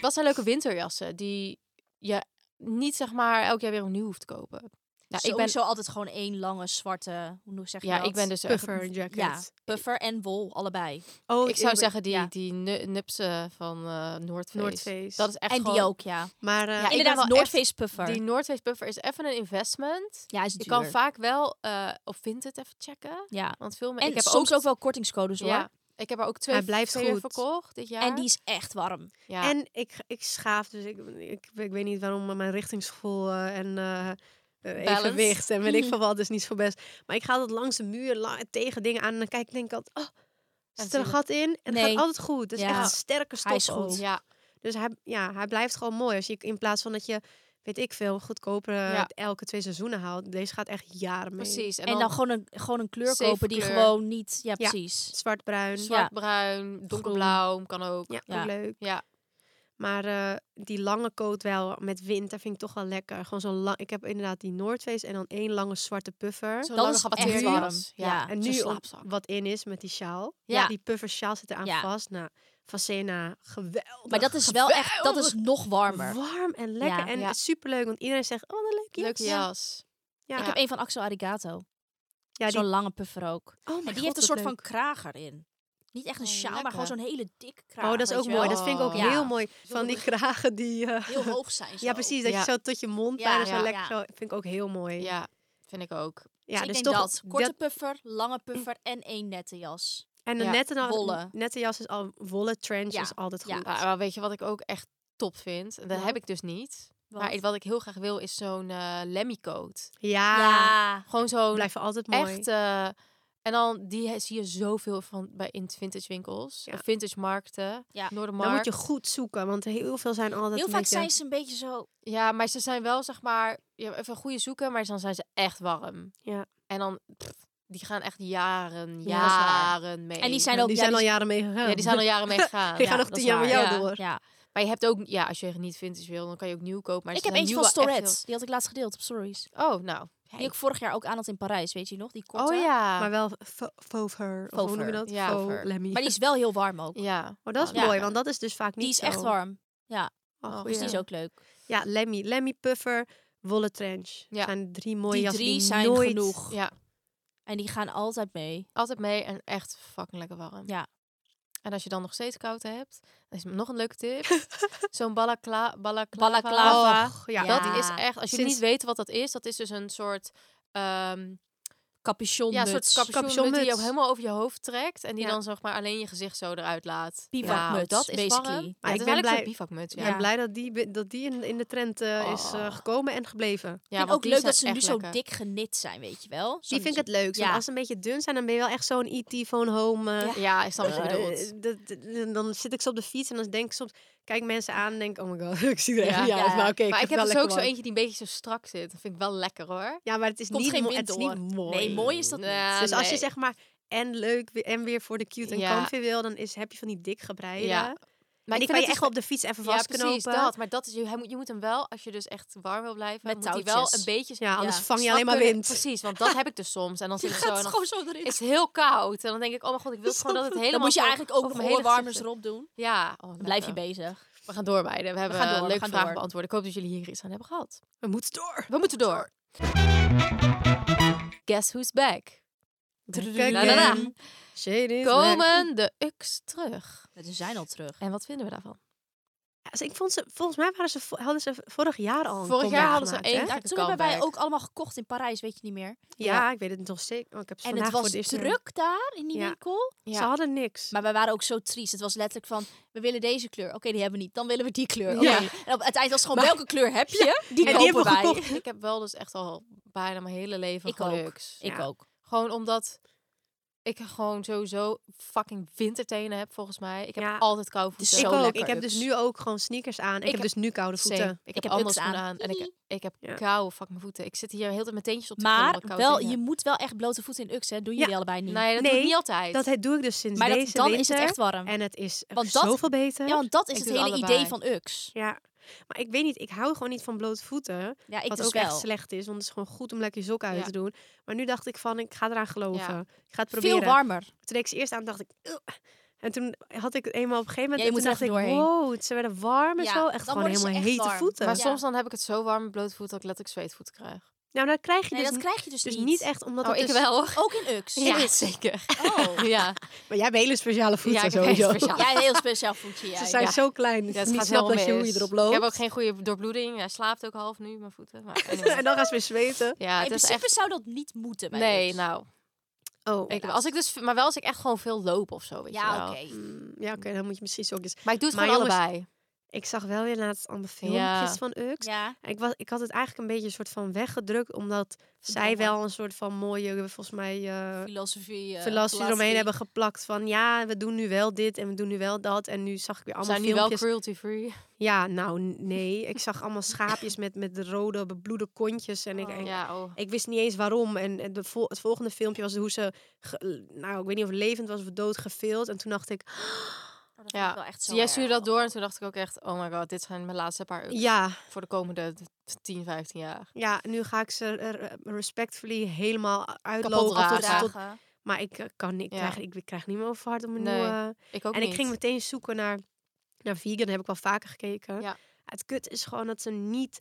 Speaker 1: Wat zijn leuke winterjassen die je niet zeg maar elk jaar weer opnieuw hoeft te kopen? Ja,
Speaker 2: ik
Speaker 1: Nou, ik ben,
Speaker 2: ben zo altijd gewoon één lange zwarte, hoe noem- zeg je
Speaker 1: ja,
Speaker 2: dat?
Speaker 1: ik ben dus echt-
Speaker 3: Puffer jacket.
Speaker 2: ja, puffer en wol, allebei.
Speaker 3: Oh,
Speaker 1: Ik zou
Speaker 3: ben-
Speaker 1: zeggen die,
Speaker 2: ja.
Speaker 1: die nu- nupsen van eh North Face.
Speaker 3: North Face.
Speaker 1: Dat is echt
Speaker 2: en
Speaker 1: gewoon...
Speaker 2: die ook, ja.
Speaker 3: Maar eh,
Speaker 1: Ja, ik- ben
Speaker 2: Inderdaad,
Speaker 1: wel
Speaker 2: North
Speaker 1: echt-
Speaker 2: Face puffer.
Speaker 1: Die North Face puffer is even een investment.
Speaker 2: Ja, is
Speaker 1: Je
Speaker 2: duur.
Speaker 1: kan vaak wel eh op Vinted even checken.
Speaker 2: ja.
Speaker 1: Want veel me-
Speaker 2: En
Speaker 1: ik heb
Speaker 2: soms ook,
Speaker 1: ook
Speaker 2: wel kortingscodes hoor.
Speaker 1: Ja, ik heb er ook twee,
Speaker 3: Hij blijft
Speaker 1: twee
Speaker 3: goed.
Speaker 1: verkocht dit jaar.
Speaker 2: En die is echt warm.
Speaker 1: ja.
Speaker 3: En ik, ik schaaf, dus ik, ik, ik weet niet waarom maar mijn richtingsgevoel eh, en eh, eh,
Speaker 1: Balance.
Speaker 3: evenwicht en weet ik veel wat, is niet zo best. Maar ik ga altijd langs de muur la- tegen dingen aan en dan kijk ik denk ik altijd, oh, zit er een
Speaker 1: natuurlijk.
Speaker 3: gat in? En het
Speaker 2: Nee.
Speaker 3: gaat altijd goed. Dus
Speaker 2: Ja.
Speaker 3: echt sterke stof
Speaker 2: Hij is goed.
Speaker 3: ook.
Speaker 1: Oh, ja,
Speaker 3: Dus hij, ja, hij blijft gewoon mooi. Als je, in plaats van dat je, weet ik veel, goedkopere
Speaker 1: Ja.
Speaker 3: elke twee seizoenen haalt, deze gaat echt jaren mee.
Speaker 1: precies. En,
Speaker 2: En dan,
Speaker 1: dan,
Speaker 2: gewoon, een, gewoon een kleur
Speaker 1: Safe
Speaker 2: kopen die
Speaker 1: kleur.
Speaker 2: gewoon niet... Ja,
Speaker 3: Ja.
Speaker 2: precies.
Speaker 3: Zwart-bruin, ja,
Speaker 1: zwartbruin, donkerblauw, kan ook.
Speaker 3: ja,
Speaker 2: Ja.
Speaker 3: ook leuk.
Speaker 1: Ja.
Speaker 3: Maar eh, die lange coat wel met winter vind ik toch wel lekker. Gewoon zo'n lang. Ik heb inderdaad die Noordface en dan één lange zwarte puffer.
Speaker 1: Zo'n
Speaker 2: Dat
Speaker 1: lange
Speaker 2: is
Speaker 1: gewatteerde
Speaker 2: echt
Speaker 1: jas.
Speaker 2: warm.
Speaker 1: Ja,
Speaker 2: Ja.
Speaker 3: en
Speaker 1: zo'n
Speaker 3: nu om-
Speaker 1: slaapzak.
Speaker 3: wat in is met die sjaal.
Speaker 2: Ja.
Speaker 3: Ja. Die puffer sjaal zit eraan
Speaker 2: Ja.
Speaker 3: vast. Nou, Facena, geweldig.
Speaker 2: Maar dat is wel echt... Dat is nog warmer.
Speaker 3: warm en lekker.
Speaker 2: Ja.
Speaker 3: en
Speaker 1: Ja.
Speaker 3: superleuk. Want iedereen zegt, oh, wat een leuke
Speaker 1: Leuke
Speaker 3: jas.
Speaker 1: jas.
Speaker 3: Ja.
Speaker 2: Ik heb een van Axel Arigato.
Speaker 3: Ja, die,
Speaker 2: Zo'n lange puffer ook.
Speaker 3: oh mijn
Speaker 2: En die
Speaker 3: God,
Speaker 2: heeft een soort
Speaker 3: wat
Speaker 2: van
Speaker 3: leuk.
Speaker 2: kraag erin. Niet echt een
Speaker 1: Oh,
Speaker 2: sjaal, maar
Speaker 1: lekker.
Speaker 2: gewoon zo'n hele dikke kraag.
Speaker 3: Oh, dat is
Speaker 2: weet
Speaker 3: ook
Speaker 2: je
Speaker 3: mooi.
Speaker 2: wel.
Speaker 3: Dat vind ik ook
Speaker 1: Ja.
Speaker 3: heel mooi. Van die kragen die... eh,
Speaker 2: [laughs] Heel hoog zijn zo.
Speaker 3: ja, precies. Dat
Speaker 1: Ja.
Speaker 3: je zo tot je mond
Speaker 2: Ja,
Speaker 3: bijna zo
Speaker 1: ja,
Speaker 3: lekker
Speaker 2: ja.
Speaker 3: zo... Vind ik ook heel mooi.
Speaker 1: Ja, vind ik ook.
Speaker 3: Ja,
Speaker 2: dus,
Speaker 3: dus
Speaker 2: ik denk
Speaker 3: toch
Speaker 2: dat. Korte puffer, lange puffer en één nette jas.
Speaker 3: En een
Speaker 1: Ja,
Speaker 3: nette, na-
Speaker 2: wollen.
Speaker 3: nette jas is al wollen trench
Speaker 2: Ja,
Speaker 3: is altijd
Speaker 2: ja.
Speaker 3: goed.
Speaker 1: Maar, maar weet je wat ik ook echt top vind? En dat
Speaker 2: Nou.
Speaker 1: heb ik dus niet. Maar
Speaker 2: Want-
Speaker 1: ik- wat ik heel graag wil is zo'n eh Lemmy coat.
Speaker 3: Ja,
Speaker 2: ja.
Speaker 1: Gewoon zo'n
Speaker 3: blijven altijd mooi.
Speaker 1: echt... eh, en dan die he- zie je zoveel van bij in vintage winkels.
Speaker 3: Ja.
Speaker 1: Of vintage markten.
Speaker 2: Ja.
Speaker 1: Noordermarkt.
Speaker 3: Dan moet je goed zoeken, want heel veel zijn altijd
Speaker 2: Heel
Speaker 3: een
Speaker 2: vaak
Speaker 3: beetje-
Speaker 2: zijn ze een beetje zo...
Speaker 1: Ja, maar ze zijn wel zeg maar... Je hebt even goede zoeken, maar dan zijn ze echt warm.
Speaker 3: Ja.
Speaker 1: En dan... pff, die gaan echt jaren,
Speaker 3: Ja, dat is
Speaker 2: waar.
Speaker 1: jaren mee.
Speaker 2: En die zijn ook...
Speaker 3: die
Speaker 2: ja,
Speaker 3: zijn al
Speaker 2: die-
Speaker 3: jaren mee gegaan.
Speaker 1: Ja, die
Speaker 3: [laughs]
Speaker 1: zijn al jaren mee gegaan.
Speaker 3: Die gaan
Speaker 1: Ja,
Speaker 3: nog
Speaker 1: dat
Speaker 3: tien
Speaker 1: is
Speaker 3: jaar met
Speaker 1: waar.
Speaker 3: jou
Speaker 1: Ja.
Speaker 3: door.
Speaker 2: Ja.
Speaker 1: Maar je hebt ook, ja, als je niet vintage wil, dan kan je ook nieuw kopen. Maar er
Speaker 2: Ik heb
Speaker 1: zijn
Speaker 2: eentje
Speaker 1: nieuwe
Speaker 2: van
Speaker 1: echt
Speaker 2: Storette. Die had ik laatst gedeeld op stories.
Speaker 1: heel- Oh, nou.
Speaker 2: Die ik vorig jaar ook aan had in Parijs, weet je nog? Die korte.
Speaker 1: Oh ja.
Speaker 3: Maar wel fo- fauve her. Of hoe noem je
Speaker 2: Fauve
Speaker 3: dat?
Speaker 1: her, ja.
Speaker 3: Fauve
Speaker 1: Fauve her.
Speaker 3: lemmy.
Speaker 2: Maar die is wel heel warm ook.
Speaker 1: ja.
Speaker 3: Oh, dat is
Speaker 2: Ja.
Speaker 3: mooi, want dat is dus vaak niet
Speaker 2: Die is
Speaker 3: zo.
Speaker 2: echt warm.
Speaker 3: Oh,
Speaker 1: Oh,
Speaker 3: goeie.
Speaker 2: Dus die is
Speaker 1: Ja.
Speaker 2: ook leuk.
Speaker 3: Ja, lemmy. Lemmy puffer, wollen trench.
Speaker 1: Ja.
Speaker 3: zijn drie mooie
Speaker 2: Die
Speaker 3: jassen
Speaker 2: drie
Speaker 3: die
Speaker 2: zijn
Speaker 3: nooit...
Speaker 2: genoeg.
Speaker 1: Ja,
Speaker 2: En die gaan altijd mee.
Speaker 1: altijd mee en echt fucking lekker warm.
Speaker 2: Ja.
Speaker 1: En als je dan nog steeds koud hebt, dan is nog een leuke
Speaker 3: [laughs]
Speaker 1: tip. Zo'n balakla balaclava.
Speaker 2: Balaclava.
Speaker 3: Och, oh, ja.
Speaker 2: Ja.
Speaker 1: Dat is echt, als jullie
Speaker 3: Sinds-
Speaker 1: niet weten wat dat is, dat is dus een soort... ehm
Speaker 2: Capuchon
Speaker 1: ja, een soort capuchon die
Speaker 3: Capuchonmuts.
Speaker 1: je ook helemaal over je hoofd trekt. En die
Speaker 3: Ja.
Speaker 1: dan zeg maar alleen je gezicht zo eruit laat.
Speaker 2: Bivakmuts,
Speaker 1: Nou, dat is warm.
Speaker 2: basically.
Speaker 1: Ja,
Speaker 3: Maar
Speaker 1: het
Speaker 3: ik
Speaker 1: is
Speaker 3: ben
Speaker 1: eigenlijk
Speaker 3: blij-
Speaker 1: een soort bivakmuts.
Speaker 3: Ik
Speaker 1: Ja,
Speaker 3: ben blij dat die, dat die in, in de trend eh, is eh,
Speaker 1: Oh.
Speaker 3: gekomen en gebleven.
Speaker 1: ja
Speaker 2: ik
Speaker 1: want
Speaker 2: vind ook
Speaker 1: die
Speaker 2: leuk
Speaker 1: zijn
Speaker 2: dat ze nu
Speaker 1: echt
Speaker 2: zo
Speaker 1: lekker.
Speaker 2: dik genit zijn, weet je wel? Zo'n-
Speaker 3: Die vind ik het leuk.
Speaker 2: Ja.
Speaker 3: Als ze een beetje dun zijn, dan ben je wel echt zo'n E.T. van home. eh,
Speaker 1: Ja, ik snap wat je
Speaker 3: Eh, [laughs]
Speaker 1: bedoelt.
Speaker 3: dat- dat- dan zit ik zo op de fiets en dan denk ik soms, kijk mensen aan en denk, oh my god, [laughs] ik zie er echt
Speaker 1: Ja.
Speaker 3: niet uit.
Speaker 2: Ja.
Speaker 3: Maar oké, ik
Speaker 1: maar ik heb
Speaker 3: wel
Speaker 1: dus
Speaker 3: lekker
Speaker 1: ook zo
Speaker 3: warm.
Speaker 1: eentje die een beetje zo strak zit. Dat vind ik wel lekker hoor.
Speaker 3: Ja, maar het is,
Speaker 2: Komt
Speaker 3: niet,
Speaker 2: geen
Speaker 3: mo-
Speaker 2: wind
Speaker 3: het is niet
Speaker 2: door.
Speaker 3: mooi.
Speaker 2: Nee, mooi is dat
Speaker 1: Nee.
Speaker 2: niet.
Speaker 3: dus als je
Speaker 1: nee.
Speaker 3: zeg maar en leuk we- en weer voor de cute en
Speaker 1: Ja.
Speaker 3: comfy wil, dan is, heb je van die dik gebreide.
Speaker 1: Ja.
Speaker 3: Maar
Speaker 1: Maar
Speaker 3: die
Speaker 1: ik
Speaker 3: kan je
Speaker 1: vind dus
Speaker 3: echt wel op de fiets even
Speaker 1: ja,
Speaker 3: vastknopen.
Speaker 1: precies dat. Maar dat is, je, hij moet, je moet hem wel, als je dus echt warm wil blijven,
Speaker 2: Met
Speaker 1: moet hij wel
Speaker 2: touwtjes.
Speaker 1: een beetje
Speaker 3: Ja, anders
Speaker 2: Ja.
Speaker 3: vang je
Speaker 1: strak
Speaker 3: alleen maar
Speaker 1: kunnen-
Speaker 3: wind.
Speaker 1: Precies, want dat heb ik dus soms.
Speaker 2: [laughs]
Speaker 1: En dan
Speaker 2: Die
Speaker 1: zit ik zo
Speaker 2: gaat
Speaker 1: en dan
Speaker 2: gewoon zo erin.
Speaker 1: is het heel koud. En dan denk ik, oh mijn god, ik wil gewoon dat het helemaal...
Speaker 2: Dan moet je
Speaker 1: zo
Speaker 2: eigenlijk ook
Speaker 1: over
Speaker 2: nog
Speaker 1: mijn hele
Speaker 2: oorwarmers
Speaker 1: gezicht
Speaker 2: erop doen.
Speaker 1: zit. Ja. Oh,
Speaker 2: Dan blijf je
Speaker 1: lekker.
Speaker 2: bezig.
Speaker 1: We gaan door, meiden. We hebben
Speaker 2: gaan door, we
Speaker 1: leuke
Speaker 2: gaan
Speaker 1: vragen
Speaker 2: door.
Speaker 1: beantwoord. Ik hoop dat jullie hier iets aan hebben gehad.
Speaker 3: We moeten door.
Speaker 1: We moeten door. Guess who's back?
Speaker 3: Back
Speaker 1: La, la, la.
Speaker 3: again. Shade is back.
Speaker 1: Komen de UX terug?
Speaker 2: Ze zijn al terug.
Speaker 1: En wat vinden we daarvan?
Speaker 3: Ja, dus ik vond ze, volgens mij waren ze, vo- hadden ze vorig jaar al een
Speaker 1: Vorig jaar
Speaker 3: comeback
Speaker 1: hadden ze
Speaker 3: gemaakt,
Speaker 1: één
Speaker 3: hè?
Speaker 1: Ja,
Speaker 2: Ja,
Speaker 1: ik
Speaker 2: toen hebben wij
Speaker 1: comeback.
Speaker 2: ook allemaal gekocht in Parijs, weet je niet meer.
Speaker 3: Ja, ik weet het nog steeds. Oh, ik heb ze
Speaker 2: En
Speaker 3: vandaag
Speaker 2: het
Speaker 3: voor
Speaker 2: was
Speaker 3: het eerst weer-
Speaker 2: druk daar in die
Speaker 3: Ja.
Speaker 2: winkel.
Speaker 1: Ja.
Speaker 3: Ze hadden niks.
Speaker 2: Maar wij waren ook zo triest. Het was letterlijk van, we willen deze kleur. Oké, die hebben we niet. Dan willen we [laughs] die kleur.
Speaker 3: Ja.
Speaker 2: Oké. En op het eind was het gewoon, welke kleur heb je? die
Speaker 3: en die
Speaker 2: kopen
Speaker 3: hebben we
Speaker 2: wij.
Speaker 3: gekocht.
Speaker 1: Ik heb wel dus echt al bijna mijn hele leven
Speaker 2: Ik
Speaker 1: gewoon
Speaker 2: ook.
Speaker 1: UX.
Speaker 2: Ik
Speaker 3: Ja.
Speaker 2: ook.
Speaker 1: Gewoon omdat ik gewoon sowieso fucking wintertenen heb volgens mij. Ik heb
Speaker 3: Ja.
Speaker 1: altijd koude
Speaker 2: is
Speaker 1: voeten.
Speaker 3: ik
Speaker 2: zo
Speaker 3: ook.
Speaker 2: lekker
Speaker 3: ik heb dus
Speaker 2: Uggs.
Speaker 3: nu ook gewoon sneakers aan. Ik,
Speaker 1: Ik
Speaker 3: heb
Speaker 1: heb
Speaker 3: dus nu koude
Speaker 1: Same.
Speaker 3: voeten.
Speaker 1: Ik,
Speaker 2: Ik
Speaker 1: heb
Speaker 2: heb
Speaker 1: andere
Speaker 2: Uggs
Speaker 1: schoenen
Speaker 2: aan.
Speaker 1: aan en ik,
Speaker 2: Hihi.
Speaker 1: ik heb
Speaker 3: Ja.
Speaker 1: koude fucking voeten. Ik zit hier heel de mijn teentjes op te
Speaker 2: Maar
Speaker 1: krullen, koude
Speaker 2: wel,
Speaker 1: tenen.
Speaker 2: je moet wel echt blote voeten in Ux, hè. Doe je
Speaker 3: Ja.
Speaker 2: die allebei niet.
Speaker 1: Nee, dat doe
Speaker 3: Nee,
Speaker 1: ik niet altijd.
Speaker 3: Dat he- doe ik dus sinds
Speaker 2: maar dat,
Speaker 3: deze
Speaker 2: dan
Speaker 3: winter.
Speaker 2: is het echt warm.
Speaker 3: En het is
Speaker 2: Want dat-
Speaker 3: zoveel beter.
Speaker 2: Ja, want dat is
Speaker 1: Ik
Speaker 2: het
Speaker 1: doe
Speaker 2: hele
Speaker 1: allebei.
Speaker 2: idee van Ux.
Speaker 3: Ja. Maar ik weet niet, ik hou gewoon niet van blote voeten.
Speaker 2: Ja, ik
Speaker 3: wat
Speaker 2: dus
Speaker 3: ook echt
Speaker 2: wel.
Speaker 3: slecht is, want het is gewoon goed om lekker je sokken uit
Speaker 1: Ja.
Speaker 3: te doen. Maar nu dacht ik van, ik ga eraan geloven.
Speaker 1: Ja.
Speaker 3: Ik ga het proberen.
Speaker 2: Veel warmer.
Speaker 3: Toen deed ik ze eerst aan, dacht ik... "Ugh." En toen had ik het eenmaal op een gegeven moment...
Speaker 2: Ja,
Speaker 3: en
Speaker 2: je
Speaker 3: toen
Speaker 2: moet
Speaker 3: dacht
Speaker 2: er
Speaker 3: ik,
Speaker 2: even doorheen.
Speaker 3: wow, ze werden warm en
Speaker 2: Ja,
Speaker 3: zo. Echt
Speaker 2: dan
Speaker 3: gewoon
Speaker 2: worden ze
Speaker 3: helemaal
Speaker 2: echt
Speaker 3: hete
Speaker 2: warm.
Speaker 3: voeten.
Speaker 1: Maar
Speaker 2: Ja.
Speaker 1: soms dan heb ik het zo warm met blote voeten dat ik letterlijk zweetvoeten krijg.
Speaker 3: Nou, dat krijg je
Speaker 2: Nee,
Speaker 3: dus,
Speaker 2: dat
Speaker 3: n-
Speaker 2: krijg je dus,
Speaker 3: dus
Speaker 2: niet.
Speaker 3: niet echt omdat
Speaker 1: Oh,
Speaker 3: het
Speaker 1: ik
Speaker 3: dus-
Speaker 1: wel.
Speaker 2: Ook in
Speaker 3: [laughs]
Speaker 2: UX.
Speaker 1: Ja,
Speaker 2: [laughs]
Speaker 1: zeker.
Speaker 2: Oh.
Speaker 1: Ja,
Speaker 3: Maar jij hebt hele speciale voeten
Speaker 1: ja ik heb echt
Speaker 3: sowieso.
Speaker 1: speciaal.
Speaker 2: Ja, Oh. een heel speciaal voetje. jij.
Speaker 3: Ze zijn
Speaker 1: Ja.
Speaker 3: zo klein,
Speaker 1: Ja,
Speaker 3: dat je
Speaker 1: het
Speaker 3: niet
Speaker 1: gaat
Speaker 3: snapt
Speaker 1: helemaal
Speaker 3: als je hoe je
Speaker 1: mis.
Speaker 3: erop loopt.
Speaker 1: Ik heb ook geen goede doorbloeding. Hij slaapt ook half nu, mijn voeten. Maar anyway.
Speaker 3: [laughs] en dan gaan ze weer zweten.
Speaker 1: Ja,
Speaker 2: in
Speaker 1: het is
Speaker 2: principe
Speaker 1: echt...
Speaker 2: zou dat niet moeten. bij
Speaker 1: Nee,
Speaker 2: UX.
Speaker 1: nou.
Speaker 3: Oh.
Speaker 1: Ik, als ik dus, maar wel als ik echt gewoon veel loop of zo, weet je
Speaker 2: Ja,
Speaker 1: wel.
Speaker 2: oké.
Speaker 3: Mm, Ja, oké, dan moet je misschien zo eens...
Speaker 1: Maar ik doe het
Speaker 3: Maar
Speaker 1: gewoon
Speaker 3: jongens-
Speaker 1: allebei.
Speaker 3: Ik zag wel weer laatst allemaal filmpjes
Speaker 1: Ja.
Speaker 3: van Ux.
Speaker 2: Ja.
Speaker 3: En Ik, was, ik had het eigenlijk een beetje een soort van weggedrukt, omdat zij
Speaker 2: Verdomme.
Speaker 3: wel een soort van mooie, volgens mij, eh
Speaker 2: Filosofie. eh,
Speaker 3: filosofie eromheen
Speaker 2: philosophy.
Speaker 3: hebben geplakt van ja, we doen nu wel dit en we doen nu wel dat. En nu zag ik weer
Speaker 1: We
Speaker 3: allemaal
Speaker 1: zijn nu wel
Speaker 3: filmpjes.
Speaker 1: cruelty
Speaker 3: [laughs]
Speaker 1: free.
Speaker 3: ja, nou n- nee. Ik zag allemaal schaapjes met, met rode, bebloede kontjes. En ik,
Speaker 2: Oh.
Speaker 3: en-
Speaker 1: Ja, oh.
Speaker 3: ik wist niet eens waarom. En en de vol- het volgende filmpje was hoe ze, ge- nou ik weet niet of het levend was of dood geveeld. En toen dacht ik,
Speaker 2: Oh, dat
Speaker 1: Ja.
Speaker 2: vind ik wel echt zo
Speaker 1: Jij
Speaker 2: erg.
Speaker 1: stuurde dat door en toen dacht ik ook echt, oh my god, dit zijn mijn laatste paar ups
Speaker 3: ja,
Speaker 1: voor de komende 10, 15 jaar.
Speaker 3: ja, nu ga ik ze er, eh, respectfully helemaal
Speaker 1: Kapot
Speaker 3: uitlopen. Tot,
Speaker 1: dragen.
Speaker 3: tot,
Speaker 2: Vragen.
Speaker 3: maar ik eh, kan niet,
Speaker 1: Ja.
Speaker 3: ik krijg, ik, ik krijg niet meer over hard om mijn
Speaker 1: Nee,
Speaker 3: nieuwe...
Speaker 1: Ik ook
Speaker 3: En
Speaker 1: niet.
Speaker 3: ik ging meteen zoeken naar, naar vegan, heb ik wel vaker gekeken.
Speaker 1: Ja.
Speaker 3: Het kut is gewoon dat ze niet,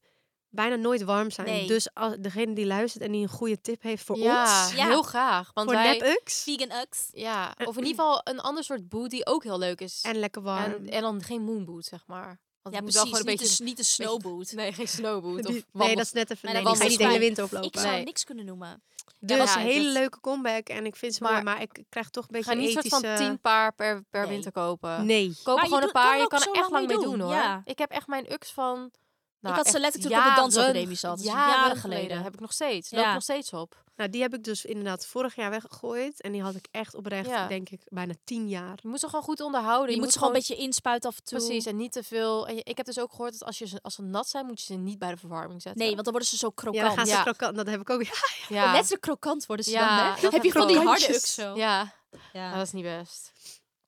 Speaker 3: bijna nooit warm zijn.
Speaker 2: Nee.
Speaker 3: Dus als, degene die luistert en die een goede tip heeft voor
Speaker 1: ja,
Speaker 3: ons,
Speaker 2: Ja.
Speaker 1: heel graag. Want
Speaker 3: voor
Speaker 1: wij,
Speaker 3: nep-ux
Speaker 2: Vegan UX.
Speaker 3: [clears throat]
Speaker 1: ja, of in ieder geval een ander soort boot die ook heel leuk is.
Speaker 3: en lekker warm.
Speaker 1: en, en dan geen moonboot, zeg maar. Want het moet
Speaker 2: Ja, precies.
Speaker 1: wel gewoon een
Speaker 2: niet,
Speaker 1: beetje...
Speaker 2: een, niet een snowboot.
Speaker 1: [laughs] Nee, geen snowboot.
Speaker 3: Die-
Speaker 1: of
Speaker 3: nee,
Speaker 1: wandel-
Speaker 3: dat is net even.
Speaker 2: Nee,
Speaker 3: Nee,
Speaker 2: dat
Speaker 3: die ga je
Speaker 2: wandelt
Speaker 3: niet de hele
Speaker 2: fijn.
Speaker 3: wind oplopen.
Speaker 2: Ik zou
Speaker 1: Nee.
Speaker 2: niks kunnen noemen.
Speaker 3: Dat was
Speaker 1: ja,
Speaker 3: een hele
Speaker 1: dit-
Speaker 3: leuke comeback en ik vind ze maar,
Speaker 1: Maar-
Speaker 3: mooi, maar ik krijg toch een beetje
Speaker 1: Ga niet soort
Speaker 3: ethische...
Speaker 1: van tien paar per, per
Speaker 2: Nee.
Speaker 1: winter kopen.
Speaker 3: Nee.
Speaker 1: Koop
Speaker 2: Maar
Speaker 1: er
Speaker 2: je
Speaker 1: gewoon
Speaker 2: doet-
Speaker 1: een paar.
Speaker 2: kan
Speaker 1: je
Speaker 2: ook
Speaker 1: kan er
Speaker 2: zo
Speaker 1: echt
Speaker 2: lang
Speaker 1: lang mee
Speaker 2: mee
Speaker 1: doen,
Speaker 2: doen,
Speaker 1: hoor.
Speaker 2: ja.
Speaker 1: Ik heb echt mijn ux van... nou,
Speaker 2: had ze
Speaker 1: echt
Speaker 2: letterlijk toen ik op de
Speaker 1: jaren-
Speaker 2: dansacademie zat.
Speaker 3: dus
Speaker 2: Dat is
Speaker 1: Jaren,
Speaker 2: jaren
Speaker 1: geleden.
Speaker 2: geleden.
Speaker 1: Heb ik nog steeds.
Speaker 2: Ja.
Speaker 1: Loop ik nog steeds op.
Speaker 3: Nou, die heb ik dus inderdaad vorig jaar weggegooid. En die had ik echt oprecht,
Speaker 1: Ja.
Speaker 3: denk ik, bijna tien jaar.
Speaker 1: Je moet ze gewoon goed onderhouden.
Speaker 2: Je, moet ze gewoon een beetje inspuiten af en toe.
Speaker 1: Precies, en niet te veel. En je- ik heb dus ook gehoord dat als, je ze, als ze nat zijn, moet je ze niet bij de verwarming zetten.
Speaker 2: Nee, want dan worden ze zo
Speaker 3: Ja,
Speaker 2: krokant.
Speaker 3: dan gaan ze
Speaker 1: Ja.
Speaker 3: krokant. Dat heb ik ook. [laughs] Ja,
Speaker 1: ja.
Speaker 2: Letterlijk krokant worden ze
Speaker 1: Ja,
Speaker 2: dan,
Speaker 1: dat
Speaker 2: hè? Heb
Speaker 1: heb
Speaker 2: je
Speaker 1: ik
Speaker 2: van die
Speaker 1: ook.
Speaker 2: harde
Speaker 3: Handjes.
Speaker 2: UX zo.
Speaker 1: Ja.
Speaker 5: Ja.
Speaker 1: Nou, dat is niet best.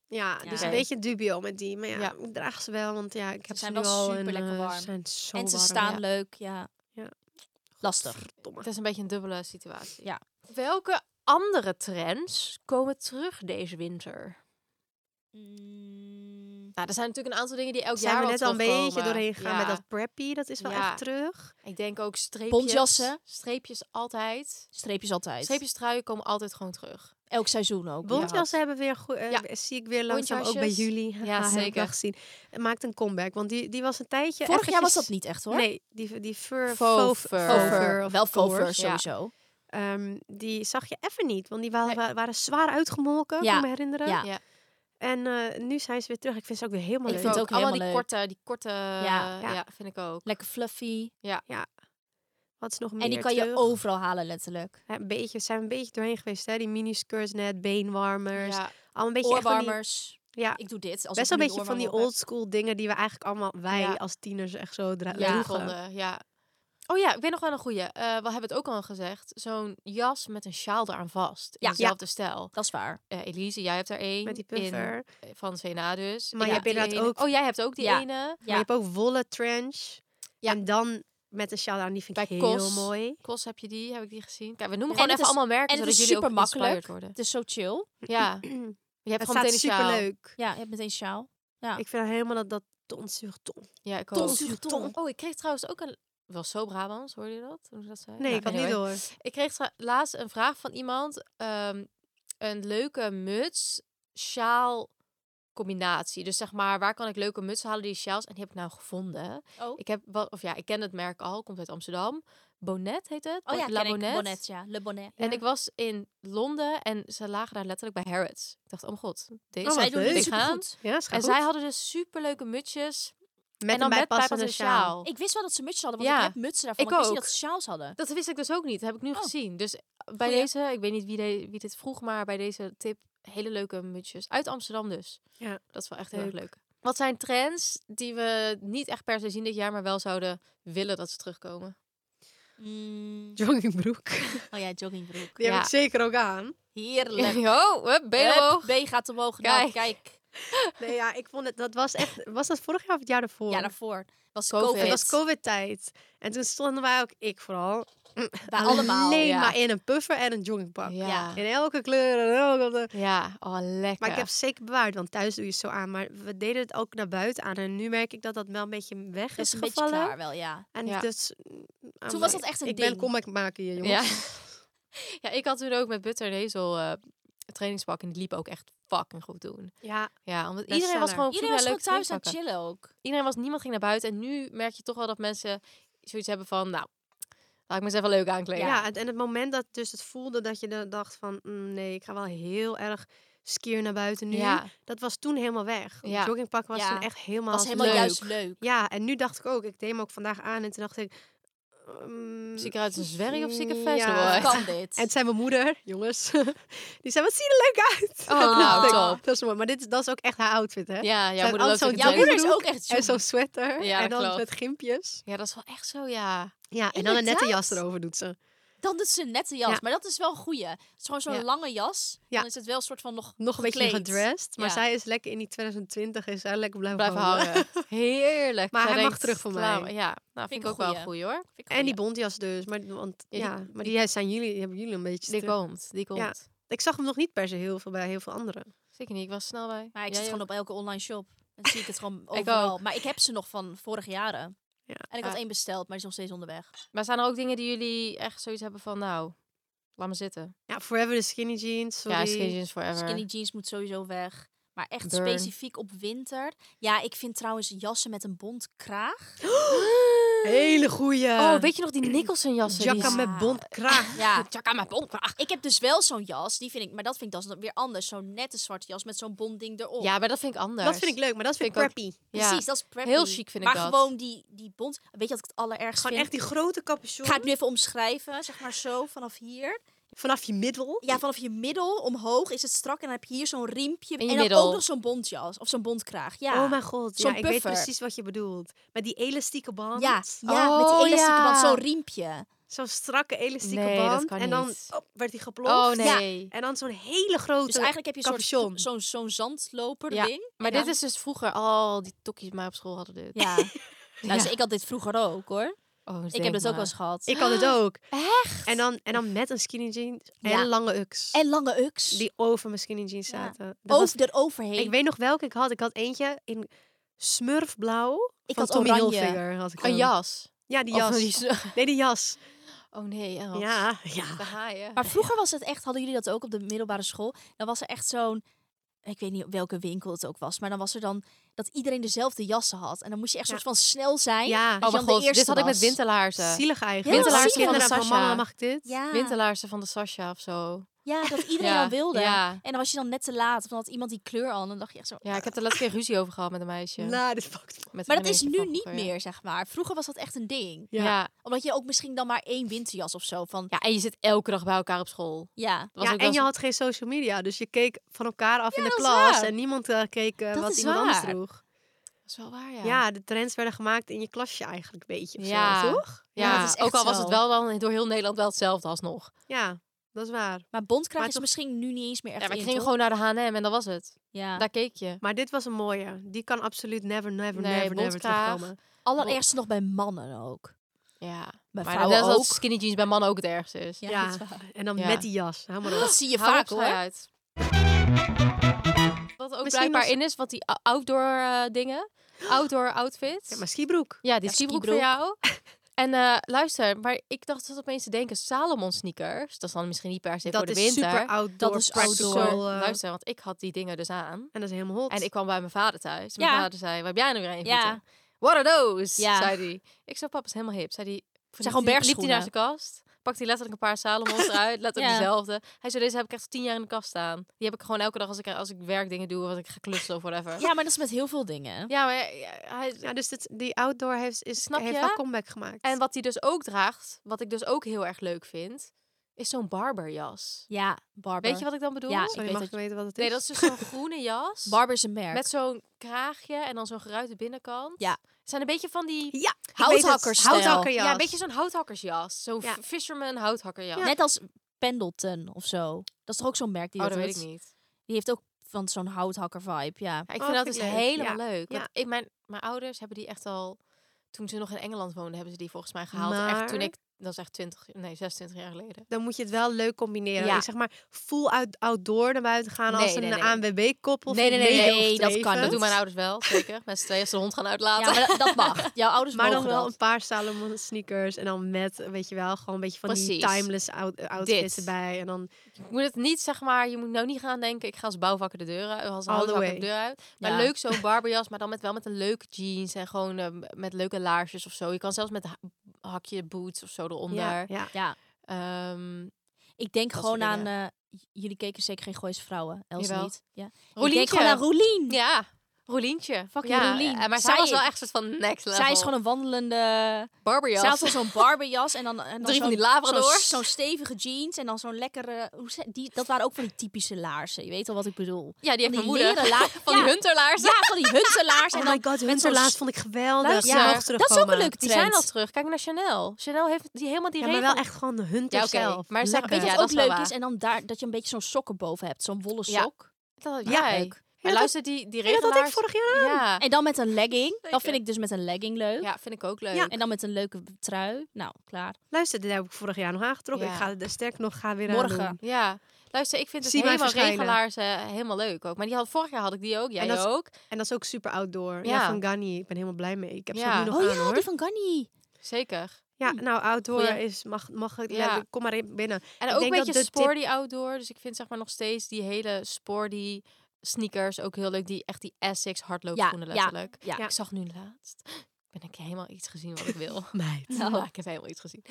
Speaker 3: ja dus
Speaker 2: Oké.
Speaker 3: een beetje dubio met die. Maar ja,
Speaker 1: Ja.
Speaker 3: ik draag ze wel. Want ja, ik heb
Speaker 2: zijn
Speaker 3: ze nu
Speaker 2: wel
Speaker 3: al. en,
Speaker 2: superlekker
Speaker 3: eh,
Speaker 2: warm.
Speaker 3: Ze zijn zo
Speaker 2: En ze
Speaker 3: warm.
Speaker 2: staan
Speaker 1: ja.
Speaker 2: leuk, ja.
Speaker 3: Ja.
Speaker 2: Lastig.
Speaker 3: Verdomme.
Speaker 1: Het is een beetje een dubbele situatie.
Speaker 2: Ja.
Speaker 1: Welke andere trends komen terug deze winter?
Speaker 2: Mm,
Speaker 1: Nou, er zijn natuurlijk een aantal dingen die elk
Speaker 3: Zijn
Speaker 1: jaar
Speaker 3: we
Speaker 1: wel
Speaker 3: net al een
Speaker 1: terugkomen.
Speaker 3: beetje doorheen gegaan
Speaker 1: Ja.
Speaker 3: met dat preppy. Dat is wel
Speaker 1: Ja.
Speaker 3: echt terug.
Speaker 1: Ik denk ook streepjes.
Speaker 2: Bontjassen.
Speaker 1: Streepjes altijd.
Speaker 2: streepjes altijd.
Speaker 1: Streepjes truien komen altijd gewoon terug.
Speaker 2: Elk seizoen ook.
Speaker 3: Bontjassen hebben weer goed.
Speaker 1: Ja.
Speaker 3: Zie ik weer langzaam ook bij
Speaker 1: Bontjasjes.
Speaker 3: [laughs] jullie.
Speaker 1: Ja, zeker.
Speaker 3: Gezien. Het maakt een comeback. Want die, die was een tijdje.
Speaker 2: Vorig jaar was
Speaker 3: eventjes-
Speaker 2: dat niet echt, hoor.
Speaker 3: Nee, die, die
Speaker 1: Faux
Speaker 3: fur, faux-
Speaker 1: fur.
Speaker 3: faux
Speaker 1: Faux
Speaker 3: fur of
Speaker 2: Wel
Speaker 3: course.
Speaker 2: cover,
Speaker 1: ja.
Speaker 2: sowieso.
Speaker 3: Ehm, die zag je even niet, want die wa- wa- waren, zwaar uitgemolken,
Speaker 2: Ja,
Speaker 3: kan ik me herinneren.
Speaker 2: ja.
Speaker 1: Ja.
Speaker 3: En eh, nu zijn ze weer terug. Ik vind ze ook weer helemaal
Speaker 2: Ik
Speaker 3: leuk.
Speaker 2: vind het ook
Speaker 1: allemaal die
Speaker 2: helemaal leuk.
Speaker 1: korte, die korte,
Speaker 2: Ja.
Speaker 1: ja,
Speaker 3: Ja.
Speaker 1: vind ik ook.
Speaker 2: Lekker fluffy.
Speaker 3: Wat is nog meer
Speaker 2: en die kan je
Speaker 3: terug?
Speaker 2: overal halen, letterlijk.
Speaker 3: Ja, een beetje, zijn we een beetje doorheen geweest, hè? Die miniskirts net, beenwarmers.
Speaker 1: Ja,
Speaker 3: Al een beetje echt van die-
Speaker 2: Oorwarmers.
Speaker 3: ja,
Speaker 2: Ik doe dit. Als
Speaker 3: best wel
Speaker 2: ik nu
Speaker 3: een beetje van die
Speaker 2: oorwarmer op
Speaker 3: old school dingen die we eigenlijk allemaal, wij
Speaker 1: Ja.
Speaker 3: als tieners, echt zo dra-
Speaker 1: ja.
Speaker 3: droegen.
Speaker 1: Ronde, ja. Oh ja, ik weet nog wel een goeie. Eh, we hebben het ook al gezegd. Zo'n jas met een sjaal eraan vast.
Speaker 2: Ja.
Speaker 1: In dezelfde stijl.
Speaker 2: heb. Dat is waar.
Speaker 1: Eh, Elise, jij hebt er één.
Speaker 3: Met die
Speaker 1: in- eh,
Speaker 3: puffer. Maar
Speaker 1: van CNA dus.
Speaker 3: Maar
Speaker 1: Ik
Speaker 3: je
Speaker 1: heb
Speaker 3: hebt
Speaker 1: die
Speaker 3: inderdaad
Speaker 1: ene-
Speaker 3: ook-
Speaker 1: Oh, jij hebt ook die
Speaker 2: Ja.
Speaker 1: ene.
Speaker 2: Ja.
Speaker 3: je hebt ook wollen trench.
Speaker 1: Ja.
Speaker 3: En dan met een sjaal aan, die vind ik
Speaker 1: Bij
Speaker 3: heel
Speaker 1: Kos.
Speaker 3: mooi. [clears throat]
Speaker 1: Kos heb je die, heb ik die gezien. Kijk, we noemen
Speaker 2: En
Speaker 1: gewoon
Speaker 2: het
Speaker 1: even
Speaker 2: is-
Speaker 1: allemaal merken,
Speaker 2: en het
Speaker 1: zodat
Speaker 2: is
Speaker 1: jullie ook
Speaker 2: super makkelijk.
Speaker 1: geïnspireerd worden.
Speaker 2: Het is zo chill.
Speaker 3: [laughs]
Speaker 1: Ja, je hebt
Speaker 3: Het
Speaker 1: gewoon
Speaker 3: staat
Speaker 1: meteen een sjaal.
Speaker 3: superleuk.
Speaker 2: Ja, je hebt meteen sjaal. Ja.
Speaker 3: Ik vind helemaal dat dat tonsuurton.
Speaker 1: Ja, ik ook.
Speaker 2: Tonsuurton.
Speaker 1: Oh, ik kreeg trouwens ook een... Wel zo Brabants, hoorde je dat? Toen ik dat zei?
Speaker 3: Nee,
Speaker 1: Nou,
Speaker 3: ik had
Speaker 1: anyway.
Speaker 3: niet door.
Speaker 1: Ik kreeg tra- laatst een vraag van iemand. ehm, een leuke muts, sjaal combinatie. Dus zeg maar, waar kan ik leuke mutsen halen die sjaals? En die heb ik nou gevonden.
Speaker 2: Oh.
Speaker 1: Ik heb wel, of ja, ik ken het merk al, komt uit Amsterdam. Bonnet heet het.
Speaker 2: Oh ja,
Speaker 1: La
Speaker 2: ken ik.
Speaker 1: Bonnet.
Speaker 2: Bonnet, ja. Le Bonnet.
Speaker 1: En ik was in Londen en ze lagen daar letterlijk bij Harrods. Ik dacht, oh mijn god, deze
Speaker 3: wat
Speaker 1: zij doen
Speaker 3: leuk.
Speaker 1: dit gaan.
Speaker 3: Ja, is
Speaker 1: En zij hadden dus superleuke mutsjes.
Speaker 3: met
Speaker 1: en dan met bijpassende sjaal.
Speaker 2: Ik wist wel dat ze mutsen hadden, want
Speaker 1: Ja.
Speaker 2: ik heb mutsen daarvan.
Speaker 1: Ik
Speaker 2: maar Ik, wist
Speaker 1: ook.
Speaker 2: niet dat ze sjaals hadden.
Speaker 1: Dat wist ik dus ook niet. Dat heb ik nu
Speaker 2: Oh.
Speaker 1: gezien. Dus bij
Speaker 2: Goeie.
Speaker 1: deze, ik weet niet wie, de- wie dit vroeg, maar bij deze tip hele leuke mutsjes. Uit Amsterdam dus.
Speaker 3: Ja.
Speaker 1: Dat is wel echt heel erg
Speaker 3: Leuk.
Speaker 1: leuk. Wat zijn trends die we niet echt per se zien dit jaar, maar wel zouden willen dat ze terugkomen?
Speaker 2: Mm.
Speaker 3: [laughs] Joggingbroek.
Speaker 2: Oh ja, joggingbroek.
Speaker 3: Die
Speaker 1: Ja.
Speaker 3: heb ik zeker ook aan.
Speaker 1: [laughs]
Speaker 2: Heerlijk.
Speaker 1: Oh, hup, been
Speaker 2: Hup,
Speaker 1: omhoog.
Speaker 2: B gaat omhoog. Nou,
Speaker 1: Kijk.
Speaker 2: kijk.
Speaker 3: Nee, ja, ik vond het, dat was echt, was dat vorig jaar of het jaar daarvoor?
Speaker 2: Ja, daarvoor. Was
Speaker 1: Covid.
Speaker 2: COVID.
Speaker 3: Het was covid-tijd. En toen stonden wij ook, ik vooral,
Speaker 2: Bij allemaal.
Speaker 3: Alleen
Speaker 1: ja.
Speaker 3: maar in een puffer en een joggingpak.
Speaker 1: Ja.
Speaker 3: In elke kleur. En elke...
Speaker 1: Ja, oh lekker.
Speaker 3: Maar ik heb ze zeker bewaard, want thuis doe je het zo aan. Maar we deden het ook naar buiten aan. En nu merk ik dat dat wel een beetje weg
Speaker 2: Dat is
Speaker 3: is
Speaker 2: een beetje klaar
Speaker 3: gevallen.
Speaker 2: wel, ja.
Speaker 3: En
Speaker 1: Ja.
Speaker 3: dus,
Speaker 2: Toen was dat echt een
Speaker 3: ik
Speaker 2: ding.
Speaker 3: ben comic maken hier, jongens.
Speaker 1: ja.
Speaker 3: [laughs]
Speaker 1: ja, ik had toen ook met Butter en Hazel eh, een trainingspak en die liep ook echt fucking goed doen.
Speaker 3: Ja,
Speaker 1: Ja, omdat
Speaker 3: Bestseller.
Speaker 1: iedereen was gewoon
Speaker 2: Iedereen was
Speaker 1: leuk
Speaker 2: gewoon thuis aan het chillen ook.
Speaker 1: Iedereen was, niemand ging naar buiten en nu merk je toch wel dat mensen zoiets hebben van, nou, laat ik me eens even leuk aankleden.
Speaker 3: Ja, het- en het moment dat dus het voelde dat je dan dacht van "Mm, nee, ik ga wel heel erg skier naar buiten nu.
Speaker 1: Ja.
Speaker 3: Dat was toen helemaal weg.
Speaker 1: Ja.
Speaker 3: Het Joggingpak was
Speaker 2: Ja.
Speaker 3: toen echt helemaal.
Speaker 2: was helemaal
Speaker 1: leuk.
Speaker 2: juist leuk.
Speaker 3: Ja, en nu dacht ik ook, ik deed hem ook vandaag aan en toen dacht ik. ehm,
Speaker 1: Zie ik eruit als een zwerg of zie ik er
Speaker 3: Ja.
Speaker 1: vest
Speaker 2: Hoe
Speaker 1: hoor?
Speaker 2: kan dit?
Speaker 3: [laughs] en het zei mijn moeder, jongens, [laughs] die zei, wat zie je er leuk uit.
Speaker 1: Oh,
Speaker 3: Toen dacht ik,
Speaker 1: top.
Speaker 3: [laughs] Dat is mooi, maar dit is, dat is ook echt haar outfit, hè?
Speaker 1: Ja, jouw
Speaker 3: Zijn
Speaker 1: moeder loopt
Speaker 3: altijd
Speaker 1: ook
Speaker 3: zo'n
Speaker 1: in
Speaker 2: Jouw
Speaker 1: de
Speaker 2: moeder
Speaker 1: training-
Speaker 2: is
Speaker 3: Joggingbroek
Speaker 2: ook echt
Speaker 3: En zo'n
Speaker 2: zoen.
Speaker 3: sweater
Speaker 1: Ja,
Speaker 3: en
Speaker 1: dat
Speaker 3: dan
Speaker 1: klopt.
Speaker 3: met gimpjes.
Speaker 1: Ja, dat is wel echt zo, ja.
Speaker 3: Ja, en dan een nette
Speaker 2: Inderdaad.
Speaker 3: jas erover doet ze.
Speaker 2: Dan doet ze een nette jas.
Speaker 3: Ja.
Speaker 2: Maar dat is wel een goeie. Het is gewoon zo'n
Speaker 3: Ja.
Speaker 2: lange jas.
Speaker 3: Ja.
Speaker 2: Dan is het wel een soort van nog
Speaker 3: Nog een beetje
Speaker 2: gekleed.
Speaker 3: gedressed, maar
Speaker 2: Ja.
Speaker 3: zij is lekker in die 2020, is zij lekker blijven,
Speaker 1: Blijven
Speaker 3: hangen.
Speaker 1: houden. [laughs] Heerlijk.
Speaker 3: Oh, Maar hij
Speaker 1: Zij
Speaker 3: mag
Speaker 1: denkt,
Speaker 3: terug voor
Speaker 1: nou,
Speaker 3: mij.
Speaker 1: Ja, nou, vind
Speaker 2: Vind
Speaker 1: ik
Speaker 2: ik
Speaker 1: ook wel
Speaker 2: een
Speaker 1: goed hoor.
Speaker 2: Vind
Speaker 3: [laughs]
Speaker 2: ik
Speaker 3: En die
Speaker 2: goeie.
Speaker 3: bontjas dus. Maar, want,
Speaker 1: Ja,
Speaker 3: ja,
Speaker 1: die-
Speaker 3: maar die, hij- zijn jullie, die hebben jullie een beetje
Speaker 1: Die
Speaker 3: terug.
Speaker 1: komt, die komt.
Speaker 3: Ja. Ik zag hem nog niet per se heel veel bij heel veel anderen.
Speaker 1: Zeker niet, ik was snel bij.
Speaker 2: Maar ik
Speaker 1: Jij
Speaker 2: zit gewoon
Speaker 1: ook?
Speaker 2: op elke online shop. Dan zie ik het gewoon overal. Maar ik heb ze nog van vorig jaren.
Speaker 3: Ja.
Speaker 2: En ik had
Speaker 1: Ja.
Speaker 2: één besteld, maar die is nog steeds onderweg.
Speaker 1: Maar zijn er ook dingen die jullie echt zoiets hebben van, nou, laat me zitten.
Speaker 3: Ja, Forever de skinny jeans. Sorry.
Speaker 1: Ja, skinny jeans forever. [gasps]
Speaker 2: Skinny jeans moet sowieso weg. Maar echt
Speaker 1: Burn.
Speaker 2: specifiek op winter. Ja, ik vind trouwens jassen met een bont kraag.
Speaker 3: Hele goeie.
Speaker 1: Oh, weet je nog die Nicholson jassen? die
Speaker 3: Jacka
Speaker 1: ze-
Speaker 3: met bont kraag.
Speaker 2: Ja,
Speaker 1: Jacka met bontkraag.
Speaker 2: ik heb dus wel zo'n jas. Die vind ik, maar dat vind ik dan weer anders. Zo'n nette zwarte jas met zo'n bont ding erop.
Speaker 1: Ja, maar dat vind ik anders.
Speaker 3: Dat vind ik leuk, maar dat vind ik
Speaker 1: Vind ik ook-
Speaker 3: preppy.
Speaker 1: Ja.
Speaker 2: Precies, dat is preppy.
Speaker 1: Heel chic vind ik
Speaker 2: Maar
Speaker 1: dat.
Speaker 2: gewoon die, die bont... Weet je wat ik het allerergst
Speaker 3: Gewoon
Speaker 2: vind?
Speaker 3: echt die grote
Speaker 2: Ik
Speaker 3: capuchon.
Speaker 2: ga het nu even omschrijven, zeg maar zo, vanaf hier.
Speaker 3: Vanaf je middel.
Speaker 2: Ja, vanaf je middel omhoog is het strak en dan heb je hier zo'n riempje.
Speaker 1: In je
Speaker 2: en dan
Speaker 1: middel.
Speaker 2: ook nog zo'n bontjas of zo'n bontkraag. Ja,
Speaker 3: Oh mijn god, ja,
Speaker 2: Zo'n
Speaker 3: ik weet
Speaker 2: puffer.
Speaker 3: precies wat je bedoelt. Met die elastieke band.
Speaker 2: ja, ja
Speaker 1: Oh,
Speaker 2: met die elastieke
Speaker 1: ja.
Speaker 2: band, zo'n riempje.
Speaker 3: Zo'n strakke elastieke
Speaker 1: Nee, dat
Speaker 3: band.
Speaker 1: kan
Speaker 3: en dan
Speaker 1: niet.
Speaker 3: oh, werd die geploft.
Speaker 1: Oh
Speaker 3: Ja.
Speaker 1: nee.
Speaker 3: En dan zo'n hele grote...
Speaker 2: Dus eigenlijk heb je een
Speaker 3: capuchon.
Speaker 2: soort zo'n zo'n zandloper
Speaker 1: eh, Ja,
Speaker 2: ding.
Speaker 1: Maar
Speaker 2: Ja.
Speaker 1: dit is dus vroeger al die tokkies maar op school hadden dit. [laughs]
Speaker 2: Ja.
Speaker 1: Nou, dus
Speaker 2: Luister, ik had dit vroeger ook hoor.
Speaker 1: Oh,
Speaker 2: Ik
Speaker 1: denk
Speaker 2: heb dat
Speaker 1: maar.
Speaker 2: ook wel eens gehad.
Speaker 3: Ik had
Speaker 2: [gasps]
Speaker 3: het ook.
Speaker 1: Echt?
Speaker 3: En dan, en dan met een skinny jeans en
Speaker 2: Ja.
Speaker 3: lange uks.
Speaker 2: En lange uks.
Speaker 3: Die over mijn skinny jeans
Speaker 2: Ja.
Speaker 3: zaten. Dat was-
Speaker 2: over eroverheen.
Speaker 3: ik weet nog welke ik had. Ik had eentje in smurfblauw.
Speaker 2: Ik
Speaker 3: van
Speaker 2: had
Speaker 3: Tommy
Speaker 2: oranje. Oh,
Speaker 3: Hilfiger. Had ik
Speaker 1: Een
Speaker 3: hem.
Speaker 1: jas.
Speaker 3: Ja, die
Speaker 1: Of
Speaker 3: jas.
Speaker 1: die-
Speaker 3: Nee, die jas.
Speaker 1: Oh nee, oh.
Speaker 3: Ja, ja.
Speaker 1: De haaien.
Speaker 2: Maar vroeger was het echt, hadden jullie dat ook op de middelbare school? Dan was er echt zo'n, ik weet niet welke winkel het ook was, maar dan was er dan dat iedereen dezelfde jassen had. En dan moest je echt
Speaker 3: Ja.
Speaker 2: soort van snel zijn.
Speaker 1: Oh
Speaker 3: Ja,
Speaker 2: Als je
Speaker 1: mijn
Speaker 2: dan de
Speaker 1: god, dit
Speaker 2: eerste
Speaker 1: had ik met
Speaker 2: was.
Speaker 1: winterlaarzen.
Speaker 3: zielig eigenlijk.
Speaker 2: Ja,
Speaker 3: Winterlaars
Speaker 2: zielig.
Speaker 3: kinderen van
Speaker 1: Sasha.
Speaker 3: mama, mag ik dit?
Speaker 2: Ja,
Speaker 1: Winterlaarzen van de Sasha of zo.
Speaker 2: ja [laughs] dat iedereen
Speaker 1: Ja,
Speaker 2: al wilde.
Speaker 1: ja.
Speaker 2: En dan was je dan net te laat, of dan had iemand die kleur al. En dan dacht je echt zo...
Speaker 1: Ja, ik heb er laatst keer ruzie over gehad met een meisje.
Speaker 3: Nou, dit pakt me.
Speaker 1: Met
Speaker 2: Maar
Speaker 1: een
Speaker 2: dat is
Speaker 1: vriendinnetje
Speaker 2: nu
Speaker 1: van
Speaker 2: niet
Speaker 1: vroeger, ja.
Speaker 2: meer, zeg maar. Vroeger was dat echt een ding.
Speaker 1: Ja.
Speaker 3: Ja.
Speaker 1: Ja.
Speaker 2: Omdat je ook misschien dan maar één winterjas of zo van...
Speaker 1: en je zit elke dag bij elkaar op school.
Speaker 2: Ja,
Speaker 1: Dat was
Speaker 3: Ja,
Speaker 1: ook wel
Speaker 3: en je
Speaker 1: zo-
Speaker 3: had geen social media, dus je keek van elkaar af in de
Speaker 1: dat is
Speaker 3: klas.
Speaker 1: waar.
Speaker 3: En niemand eh, keek eh,
Speaker 1: Dat
Speaker 3: wat
Speaker 1: is
Speaker 3: iemand anders
Speaker 1: waar.
Speaker 3: droeg.
Speaker 1: Dat is wel waar, ja.
Speaker 3: Ja. de trends werden gemaakt in je klasje eigenlijk een beetje. Of
Speaker 1: Ja.
Speaker 3: Zo, toch?
Speaker 1: Ja,
Speaker 2: Ja, dat is echt
Speaker 1: ook al was
Speaker 2: zo.
Speaker 1: het wel dan door heel Nederland wel hetzelfde alsnog.
Speaker 3: Ja, dat is waar.
Speaker 2: maar bondkraag
Speaker 3: Maar
Speaker 2: is
Speaker 3: toch-
Speaker 2: misschien nu niet eens meer echt
Speaker 1: ja, we
Speaker 2: in,
Speaker 1: gingen
Speaker 2: toch?
Speaker 1: gewoon naar de H&M en dat was het.
Speaker 2: Ja.
Speaker 1: Daar keek je.
Speaker 3: Maar dit was een mooie. Die kan absoluut never, never,
Speaker 1: Nee,
Speaker 3: never, never
Speaker 1: bondkraag.
Speaker 3: terugkomen.
Speaker 2: Allereerst nog bij mannen ook.
Speaker 1: Ja.
Speaker 2: Bij
Speaker 1: Maar
Speaker 2: vrouwen
Speaker 1: net als
Speaker 2: ook.
Speaker 1: skinny jeans bij mannen ook het ergste is.
Speaker 2: Ja,
Speaker 3: Ja.
Speaker 2: dat is waar.
Speaker 3: En dan
Speaker 1: Ja.
Speaker 3: met die jas. Helemaal op.
Speaker 2: Dat [laughs] zie je
Speaker 1: Hou
Speaker 2: vaak
Speaker 1: op, ga je
Speaker 2: hoor.
Speaker 1: uit. Wat ook
Speaker 3: Misschien
Speaker 1: blijkbaar
Speaker 3: als-
Speaker 1: in is, want die o- outdoor eh, dingen, outdoor outfits.
Speaker 3: Ja,
Speaker 1: Ja,
Speaker 3: maar skibroek.
Speaker 1: die
Speaker 2: Ja,
Speaker 1: skibroek voor
Speaker 3: [laughs]
Speaker 1: jou. En eh, luister, maar ik dacht dat opeens te denken, Salomon sneakers, dat is dan misschien niet per se voor
Speaker 3: Dat
Speaker 1: de
Speaker 3: is
Speaker 1: winter.
Speaker 3: super outdoor.
Speaker 2: Dat is
Speaker 3: practical,
Speaker 2: outdoor.
Speaker 3: eh,
Speaker 1: Luister, want ik had die dingen dus aan.
Speaker 3: En dat is helemaal hot.
Speaker 1: En ik kwam bij mijn vader thuis. Mijn
Speaker 2: Ja.
Speaker 1: vader zei, waar heb jij nou weer een
Speaker 2: Ja.
Speaker 1: voeten? What are those?
Speaker 2: Ja.
Speaker 1: zei hij. Ik zei, papa is helemaal hip. Zei hij,
Speaker 2: zijn gewoon
Speaker 1: Liep hij
Speaker 2: bergschoenen.
Speaker 1: naar zijn kast, pakte hij letterlijk een paar
Speaker 2: [laughs]
Speaker 1: Salomons eruit, letterlijk
Speaker 2: Ja.
Speaker 1: dezelfde. Hij zei, deze heb ik echt al tien jaar in de kast staan. Die heb ik gewoon elke dag als ik, als ik werkdingen doe, of als ik ga klussen of whatever.
Speaker 2: Ja, maar dat is met heel veel dingen.
Speaker 1: Ja, maar ja, hij,
Speaker 3: ja, dus dit, die outdoor heeft, is,
Speaker 1: Snap
Speaker 3: heeft
Speaker 1: je?
Speaker 3: wel comeback gemaakt.
Speaker 1: en wat hij dus ook draagt, wat ik dus ook heel erg leuk vind, is zo'n barberjas.
Speaker 2: Ja, Barber.
Speaker 1: Weet je wat ik dan bedoel?
Speaker 2: Ja,
Speaker 3: Sorry,
Speaker 2: ik weet
Speaker 3: mag
Speaker 2: dat
Speaker 3: ik weten wat het is?
Speaker 1: Nee, dat is dus zo'n
Speaker 2: [laughs]
Speaker 1: groene jas.
Speaker 2: Barber is een merk.
Speaker 1: Met zo'n kraagje en dan zo'n geruite binnenkant.
Speaker 2: Ja.
Speaker 1: Het Zijn een beetje van die...
Speaker 3: Ja,
Speaker 2: Houthakkersstijl.
Speaker 3: Houthakkerjas.
Speaker 1: Ja, een beetje zo'n houthakkersjas. Zo'n
Speaker 3: Ja.
Speaker 1: f- fisherman houthakkerjas.
Speaker 2: Net als Pendleton of zo. Dat is toch ook zo'n merk die
Speaker 1: oh, dat
Speaker 2: dat
Speaker 1: weet ik
Speaker 2: doet?
Speaker 1: niet.
Speaker 2: Die heeft ook van zo'n houthakker vibe, ja.
Speaker 1: Ja, ik
Speaker 3: Oh,
Speaker 1: vind dat
Speaker 3: vind
Speaker 1: dus
Speaker 3: ik leuk.
Speaker 1: helemaal leuk.
Speaker 3: Ja.
Speaker 1: Want ik, mijn, mijn ouders hebben die echt al... Toen ze nog in Engeland woonden, hebben ze die volgens mij gehaald. Echt toen
Speaker 3: Maar-
Speaker 1: ik dat is echt 20, nee, 26 jaar geleden.
Speaker 3: Dan moet je het wel leuk combineren.
Speaker 1: Ja.
Speaker 3: Ik zeg maar full out, outdoor naar buiten gaan
Speaker 1: Nee,
Speaker 3: als een
Speaker 1: nee, nee.
Speaker 3: ANWB-koppel.
Speaker 1: Nee, nee, nee,
Speaker 2: nee, dat kan
Speaker 1: Dat
Speaker 2: niet.
Speaker 1: doen mijn ouders
Speaker 3: [laughs]
Speaker 1: wel, zeker. Met z'n tweeën als ze de hond gaan
Speaker 2: Ja,
Speaker 1: uitlaten.
Speaker 2: maar dat, dat
Speaker 1: [laughs]
Speaker 2: mag. Jouw ouders
Speaker 3: Maar dan
Speaker 2: mogen
Speaker 3: wel
Speaker 2: dat.
Speaker 3: een paar Salomon sneakers. En dan met, weet je wel, gewoon een beetje van die
Speaker 1: Precies.
Speaker 3: timeless out outfits
Speaker 1: Dit.
Speaker 3: erbij. En dan
Speaker 1: Je moet het niet, zeg maar, je moet nou niet gaan denken, ik ga als bouwvakker de deur uit, als
Speaker 3: All the
Speaker 1: houtvakker de
Speaker 3: way.
Speaker 1: deur uit. Maar
Speaker 2: Ja.
Speaker 1: leuk
Speaker 3: [laughs]
Speaker 1: zo'n barberjas, maar dan met, wel met een leuke jeans en gewoon eh, met leuke laarsjes of zo. Je kan zelfs met ha- hakje boots of zo eronder.
Speaker 3: ja, ja.
Speaker 2: Ja,
Speaker 1: Ehm,
Speaker 2: ik denk
Speaker 1: Dat
Speaker 2: gewoon
Speaker 1: soort
Speaker 2: aan... eh, j- jullie keken zeker geen Gooise vrouwen, Els
Speaker 1: Jawel.
Speaker 2: niet. Ja. Ik denk
Speaker 1: Roelientje.
Speaker 2: gewoon aan Roelien.
Speaker 1: Ja, Roelientje.
Speaker 2: Fucking
Speaker 1: ja,
Speaker 2: Roelien.
Speaker 1: eh, Maar zij
Speaker 2: Zij-
Speaker 1: was wel echt een soort van next level.
Speaker 2: Zij is gewoon een wandelende...
Speaker 1: barberjas.
Speaker 2: Zij had al zo'n barberjas en dan, en dan
Speaker 1: Drie van
Speaker 2: zo'n-
Speaker 1: die labradors.
Speaker 2: Zo'n zo'n stevige jeans en dan zo'n lekkere... Hoe ze, die, dat waren ook van die typische laarzen. Je weet al wat ik bedoel.
Speaker 1: ja, die heeft
Speaker 2: van
Speaker 1: mijn
Speaker 2: die
Speaker 1: moeder.
Speaker 2: leren laar-
Speaker 1: [laughs] Van
Speaker 2: Ja.
Speaker 1: die hunterlaars.
Speaker 2: Ja, van die huntelaars. en
Speaker 3: Oh
Speaker 2: dan
Speaker 3: my god,
Speaker 2: met zo'n
Speaker 3: Hunterlaars
Speaker 2: s-
Speaker 3: vond ik geweldig.
Speaker 2: Luister,
Speaker 3: Ze
Speaker 1: ja.
Speaker 3: mogen
Speaker 2: dat is ook een
Speaker 3: terugkomen.
Speaker 2: leuke
Speaker 1: Die
Speaker 2: trend.
Speaker 1: zijn al terug. Kijk naar Chanel. Chanel heeft die helemaal die
Speaker 3: Ja, maar
Speaker 1: regel.
Speaker 3: wel echt gewoon de hunter
Speaker 1: Ja, oké.
Speaker 3: zelf.
Speaker 1: Maar zeg-
Speaker 3: Lekker.
Speaker 2: Weet je
Speaker 1: Ja,
Speaker 2: wat
Speaker 1: dat
Speaker 2: ook
Speaker 1: is wel
Speaker 2: leuk
Speaker 1: waar.
Speaker 2: is? En dan daar, dat je een beetje zo'n sokken boven hebt. Zo'n wollen
Speaker 1: Ja.
Speaker 2: sok.
Speaker 1: Dat,
Speaker 3: Ja.
Speaker 1: ja, ik. Maar
Speaker 3: dat-
Speaker 1: luister, die, die
Speaker 3: Ja, dat had ik
Speaker 1: regelaars-
Speaker 3: vorig jaar.
Speaker 1: Ja.
Speaker 2: En dan met een legging. Dat
Speaker 1: Zeker.
Speaker 2: vind ik dus met een legging leuk.
Speaker 1: ja, vind ik ook leuk.
Speaker 2: En dan met een leuke trui. Nou, klaar.
Speaker 3: Luister, dit heb ik vorig jaar nog aangetrokken.
Speaker 1: Ja.
Speaker 3: Ik ga er sterk nog gaan weer
Speaker 2: Morgen.
Speaker 3: aan doen.
Speaker 1: Ja, luister, ik vind het
Speaker 3: Zie mij
Speaker 1: helemaal
Speaker 3: verschijnen.
Speaker 1: regelaars eh, helemaal leuk ook. Maar die had, vorig jaar had ik die ook, jij
Speaker 3: En dat is-
Speaker 1: ook.
Speaker 3: En dat is ook super outdoor. Ja,
Speaker 1: Ja.
Speaker 3: van Gani. Ik ben helemaal blij mee. Ik heb ze
Speaker 1: Ja.
Speaker 3: nu nog
Speaker 2: Oh
Speaker 3: aan,
Speaker 2: ja,
Speaker 3: hoor.
Speaker 2: die van Ganni.
Speaker 1: Zeker.
Speaker 3: Ja, nou, outdoor
Speaker 1: Goeie.
Speaker 3: is... Mag, mag ik...
Speaker 1: Ja.
Speaker 3: Kom maar in binnen.
Speaker 1: En
Speaker 3: Ik
Speaker 1: ook een
Speaker 3: denk dat
Speaker 1: beetje
Speaker 3: de tip-
Speaker 1: sporty outdoor. Dus ik vind zeg maar nog steeds die hele sporty sneakers ook heel leuk. Die echt die Essex hardloopschoenen
Speaker 2: Ja, ja,
Speaker 1: letterlijk.
Speaker 2: ja.
Speaker 1: Ik zag nu laatst. [laughs] Ben ik helemaal iets gezien wat ik wil. [laughs]
Speaker 3: Meid.
Speaker 1: Ja, ik heb helemaal iets gezien.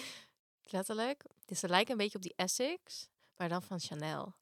Speaker 1: Letterlijk. Dus ze lijken een beetje op die Essex, maar dan van Chanel.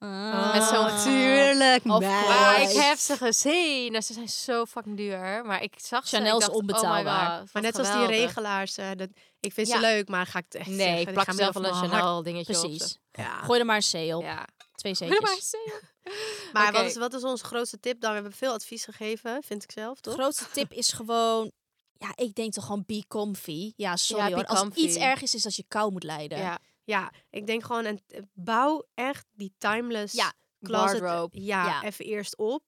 Speaker 1: Met zo'n
Speaker 3: Tuurlijk,
Speaker 2: Ah. Of
Speaker 3: meid.
Speaker 1: Maar
Speaker 2: Nice.
Speaker 1: ik heb ze gezien. Nou, ze zijn zo fucking duur. Maar ik zag ze en
Speaker 2: Chanel
Speaker 1: ik
Speaker 2: is
Speaker 1: dacht, oh my
Speaker 2: onbetaalbaar.
Speaker 1: God, wat
Speaker 3: Maar net als
Speaker 1: geweldig.
Speaker 3: die regelaars. eh, dat, ik vind ze
Speaker 1: Ja.
Speaker 3: leuk, maar ga ik het echt
Speaker 1: Nee,
Speaker 3: zeggen.
Speaker 1: ik
Speaker 3: die
Speaker 1: plak
Speaker 3: gaan
Speaker 1: zelf wel
Speaker 3: weer
Speaker 1: een
Speaker 3: van mijn hart.
Speaker 1: Chanel dingetje op.
Speaker 2: Precies.
Speaker 3: Ja.
Speaker 2: Gooi er maar een C op.
Speaker 1: Ja.
Speaker 2: Twee
Speaker 1: Doe maar
Speaker 2: C'tjes.
Speaker 1: eens, Theo.
Speaker 3: Maar
Speaker 1: Oké.
Speaker 3: wat, is, wat is onze grootste tip dan? We hebben veel advies gegeven, vind ik zelf,
Speaker 2: De
Speaker 3: toch?
Speaker 2: grootste tip is gewoon... Ja, ik denk toch gewoon be comfy. Ja, sorry
Speaker 1: Ja, be
Speaker 2: hoor. Als
Speaker 1: comfy.
Speaker 2: iets erg is, is dat je kou moet lijden.
Speaker 1: Ja.
Speaker 3: Ja, ik denk gewoon, en, eh, bouw echt die timeless
Speaker 2: Ja,
Speaker 3: closet. eh,
Speaker 1: wardrobe.
Speaker 3: Ja,
Speaker 2: Ja.
Speaker 3: even eerst op.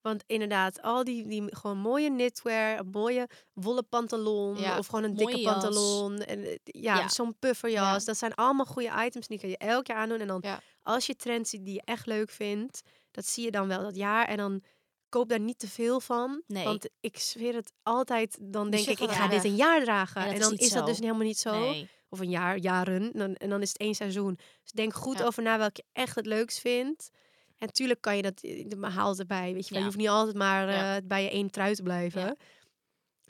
Speaker 3: Want inderdaad, al die, die gewoon mooie knitwear, een mooie wollen pantalon
Speaker 1: Ja,
Speaker 3: of gewoon een
Speaker 2: mooie
Speaker 3: dikke
Speaker 2: jas.
Speaker 3: pantalon. En, eh, ja,
Speaker 2: Ja.
Speaker 3: zo'n pufferjas. Dat zijn allemaal goede items die kan je elk jaar aandoen. En dan
Speaker 1: Ja.
Speaker 3: als je trends ziet die je echt leuk vindt, dat zie je dan wel dat jaar. En dan koop daar niet te veel van.
Speaker 2: Nee. Dus
Speaker 3: Want ik zweer het altijd, dan denk
Speaker 1: shit
Speaker 3: ik, ik
Speaker 1: gaat
Speaker 3: ga dit
Speaker 1: weg.
Speaker 3: een jaar dragen.
Speaker 2: Ja, dat
Speaker 3: en
Speaker 2: is
Speaker 3: dan
Speaker 2: niet
Speaker 3: is, dat
Speaker 2: zo.
Speaker 3: dus helemaal niet zo
Speaker 2: Nee.
Speaker 3: of een jaar, jaren. En dan, en dan is het één seizoen. Dus denk goed
Speaker 1: Ja.
Speaker 3: over na welke je echt het leukst vindt. En tuurlijk kan je dat, eh, de haal erbij. Weet je, wel.
Speaker 2: Ja.
Speaker 3: je hoeft niet altijd maar
Speaker 1: Ja.
Speaker 3: eh, bij je één trui te blijven.
Speaker 1: Ja.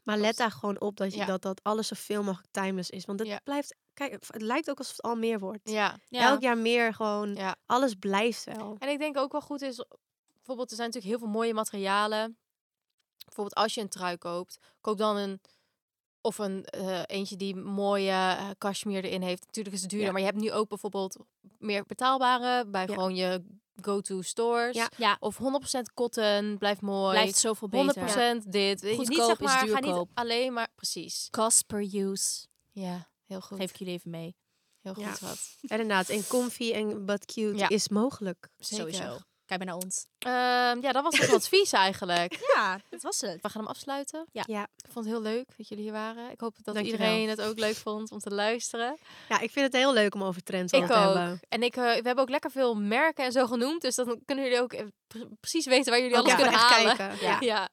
Speaker 3: Maar let daar gewoon op dat, je,
Speaker 1: Ja.
Speaker 3: dat, dat alles zoveel mogelijk timeless is. Want het
Speaker 1: Ja.
Speaker 3: blijft, kijk, het lijkt ook alsof het al meer wordt.
Speaker 1: Ja.
Speaker 2: Ja.
Speaker 3: Elk jaar meer gewoon,
Speaker 1: Ja.
Speaker 3: alles blijft
Speaker 1: [laughs]
Speaker 3: wel.
Speaker 1: En ik denk ook wel goed is, bijvoorbeeld, er zijn natuurlijk heel veel mooie materialen. Bijvoorbeeld als je een trui koopt, koop dan een of een eh, eentje die mooie eh, cashmere erin heeft. Natuurlijk is het duurder,
Speaker 3: Ja.
Speaker 1: maar je hebt nu ook bijvoorbeeld meer betaalbare bij
Speaker 3: Ja.
Speaker 1: gewoon je go-to stores.
Speaker 3: Ja.
Speaker 2: Ja.
Speaker 1: Of 100% cotton, blijft mooi.
Speaker 2: Blijft zoveel
Speaker 1: 100%
Speaker 2: beter.
Speaker 1: dit. Weet je, niet,
Speaker 2: Goedkoop
Speaker 1: zeg
Speaker 2: is
Speaker 1: maar, ga niet
Speaker 2: duurkoop.
Speaker 1: alleen maar... Precies.
Speaker 2: Cost per use.
Speaker 1: Ja, heel goed.
Speaker 2: Geef ik jullie even mee.
Speaker 1: Heel goed
Speaker 3: Ja.
Speaker 1: wat.
Speaker 3: En inderdaad, en comfy en but cute
Speaker 1: Ja.
Speaker 3: is mogelijk.
Speaker 1: Zeker.
Speaker 2: Sowieso. Kijk maar naar ons.
Speaker 1: Ehm, ja, dat was [laughs] het advies eigenlijk.
Speaker 2: Ja, dat was het.
Speaker 1: We gaan hem afsluiten.
Speaker 2: Ja.
Speaker 3: Ja.
Speaker 1: Ik vond het heel leuk dat jullie hier waren. Ik hoop dat
Speaker 3: Dankjewel.
Speaker 1: iedereen het ook leuk vond om te luisteren.
Speaker 3: Ja, ik vind het heel leuk om over trends
Speaker 1: Ik
Speaker 3: te
Speaker 1: ook.
Speaker 3: hebben.
Speaker 1: En ik, eh, we hebben ook lekker veel merken en zo genoemd. Dus dan kunnen jullie ook eh, pre- precies weten waar jullie
Speaker 3: Ook
Speaker 1: alles
Speaker 3: ja,
Speaker 1: kunnen
Speaker 3: echt
Speaker 1: halen. [laughs]
Speaker 3: kijken.
Speaker 1: Ja.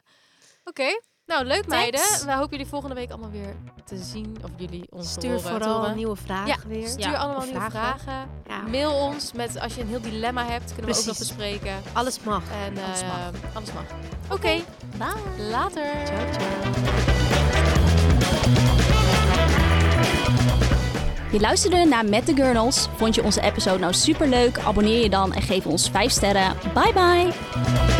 Speaker 1: Oké. Nou, leuk
Speaker 2: Thanks.
Speaker 1: meiden. We hopen jullie volgende week allemaal weer te zien. Of jullie ons te
Speaker 3: Stuur
Speaker 1: horen.
Speaker 3: vooral nieuwe vragen
Speaker 1: Ja,
Speaker 3: weer.
Speaker 1: Stuur
Speaker 2: Ja,
Speaker 1: allemaal
Speaker 3: of
Speaker 1: nieuwe
Speaker 3: vragen.
Speaker 1: vragen.
Speaker 3: Ja.
Speaker 1: Mail ons met als je een heel dilemma hebt. Kunnen we ook nog
Speaker 3: Precies.
Speaker 1: bespreken.
Speaker 3: Alles mag.
Speaker 1: En
Speaker 2: Alles mag.
Speaker 1: eh, alles mag. Oké.
Speaker 2: Bye.
Speaker 1: Later.
Speaker 3: Ciao, ciao.
Speaker 2: Je luisterde naar Met de Gurnals. Vond je onze episode nou superleuk? Abonneer je dan en geef ons 5 sterren. Bye bye!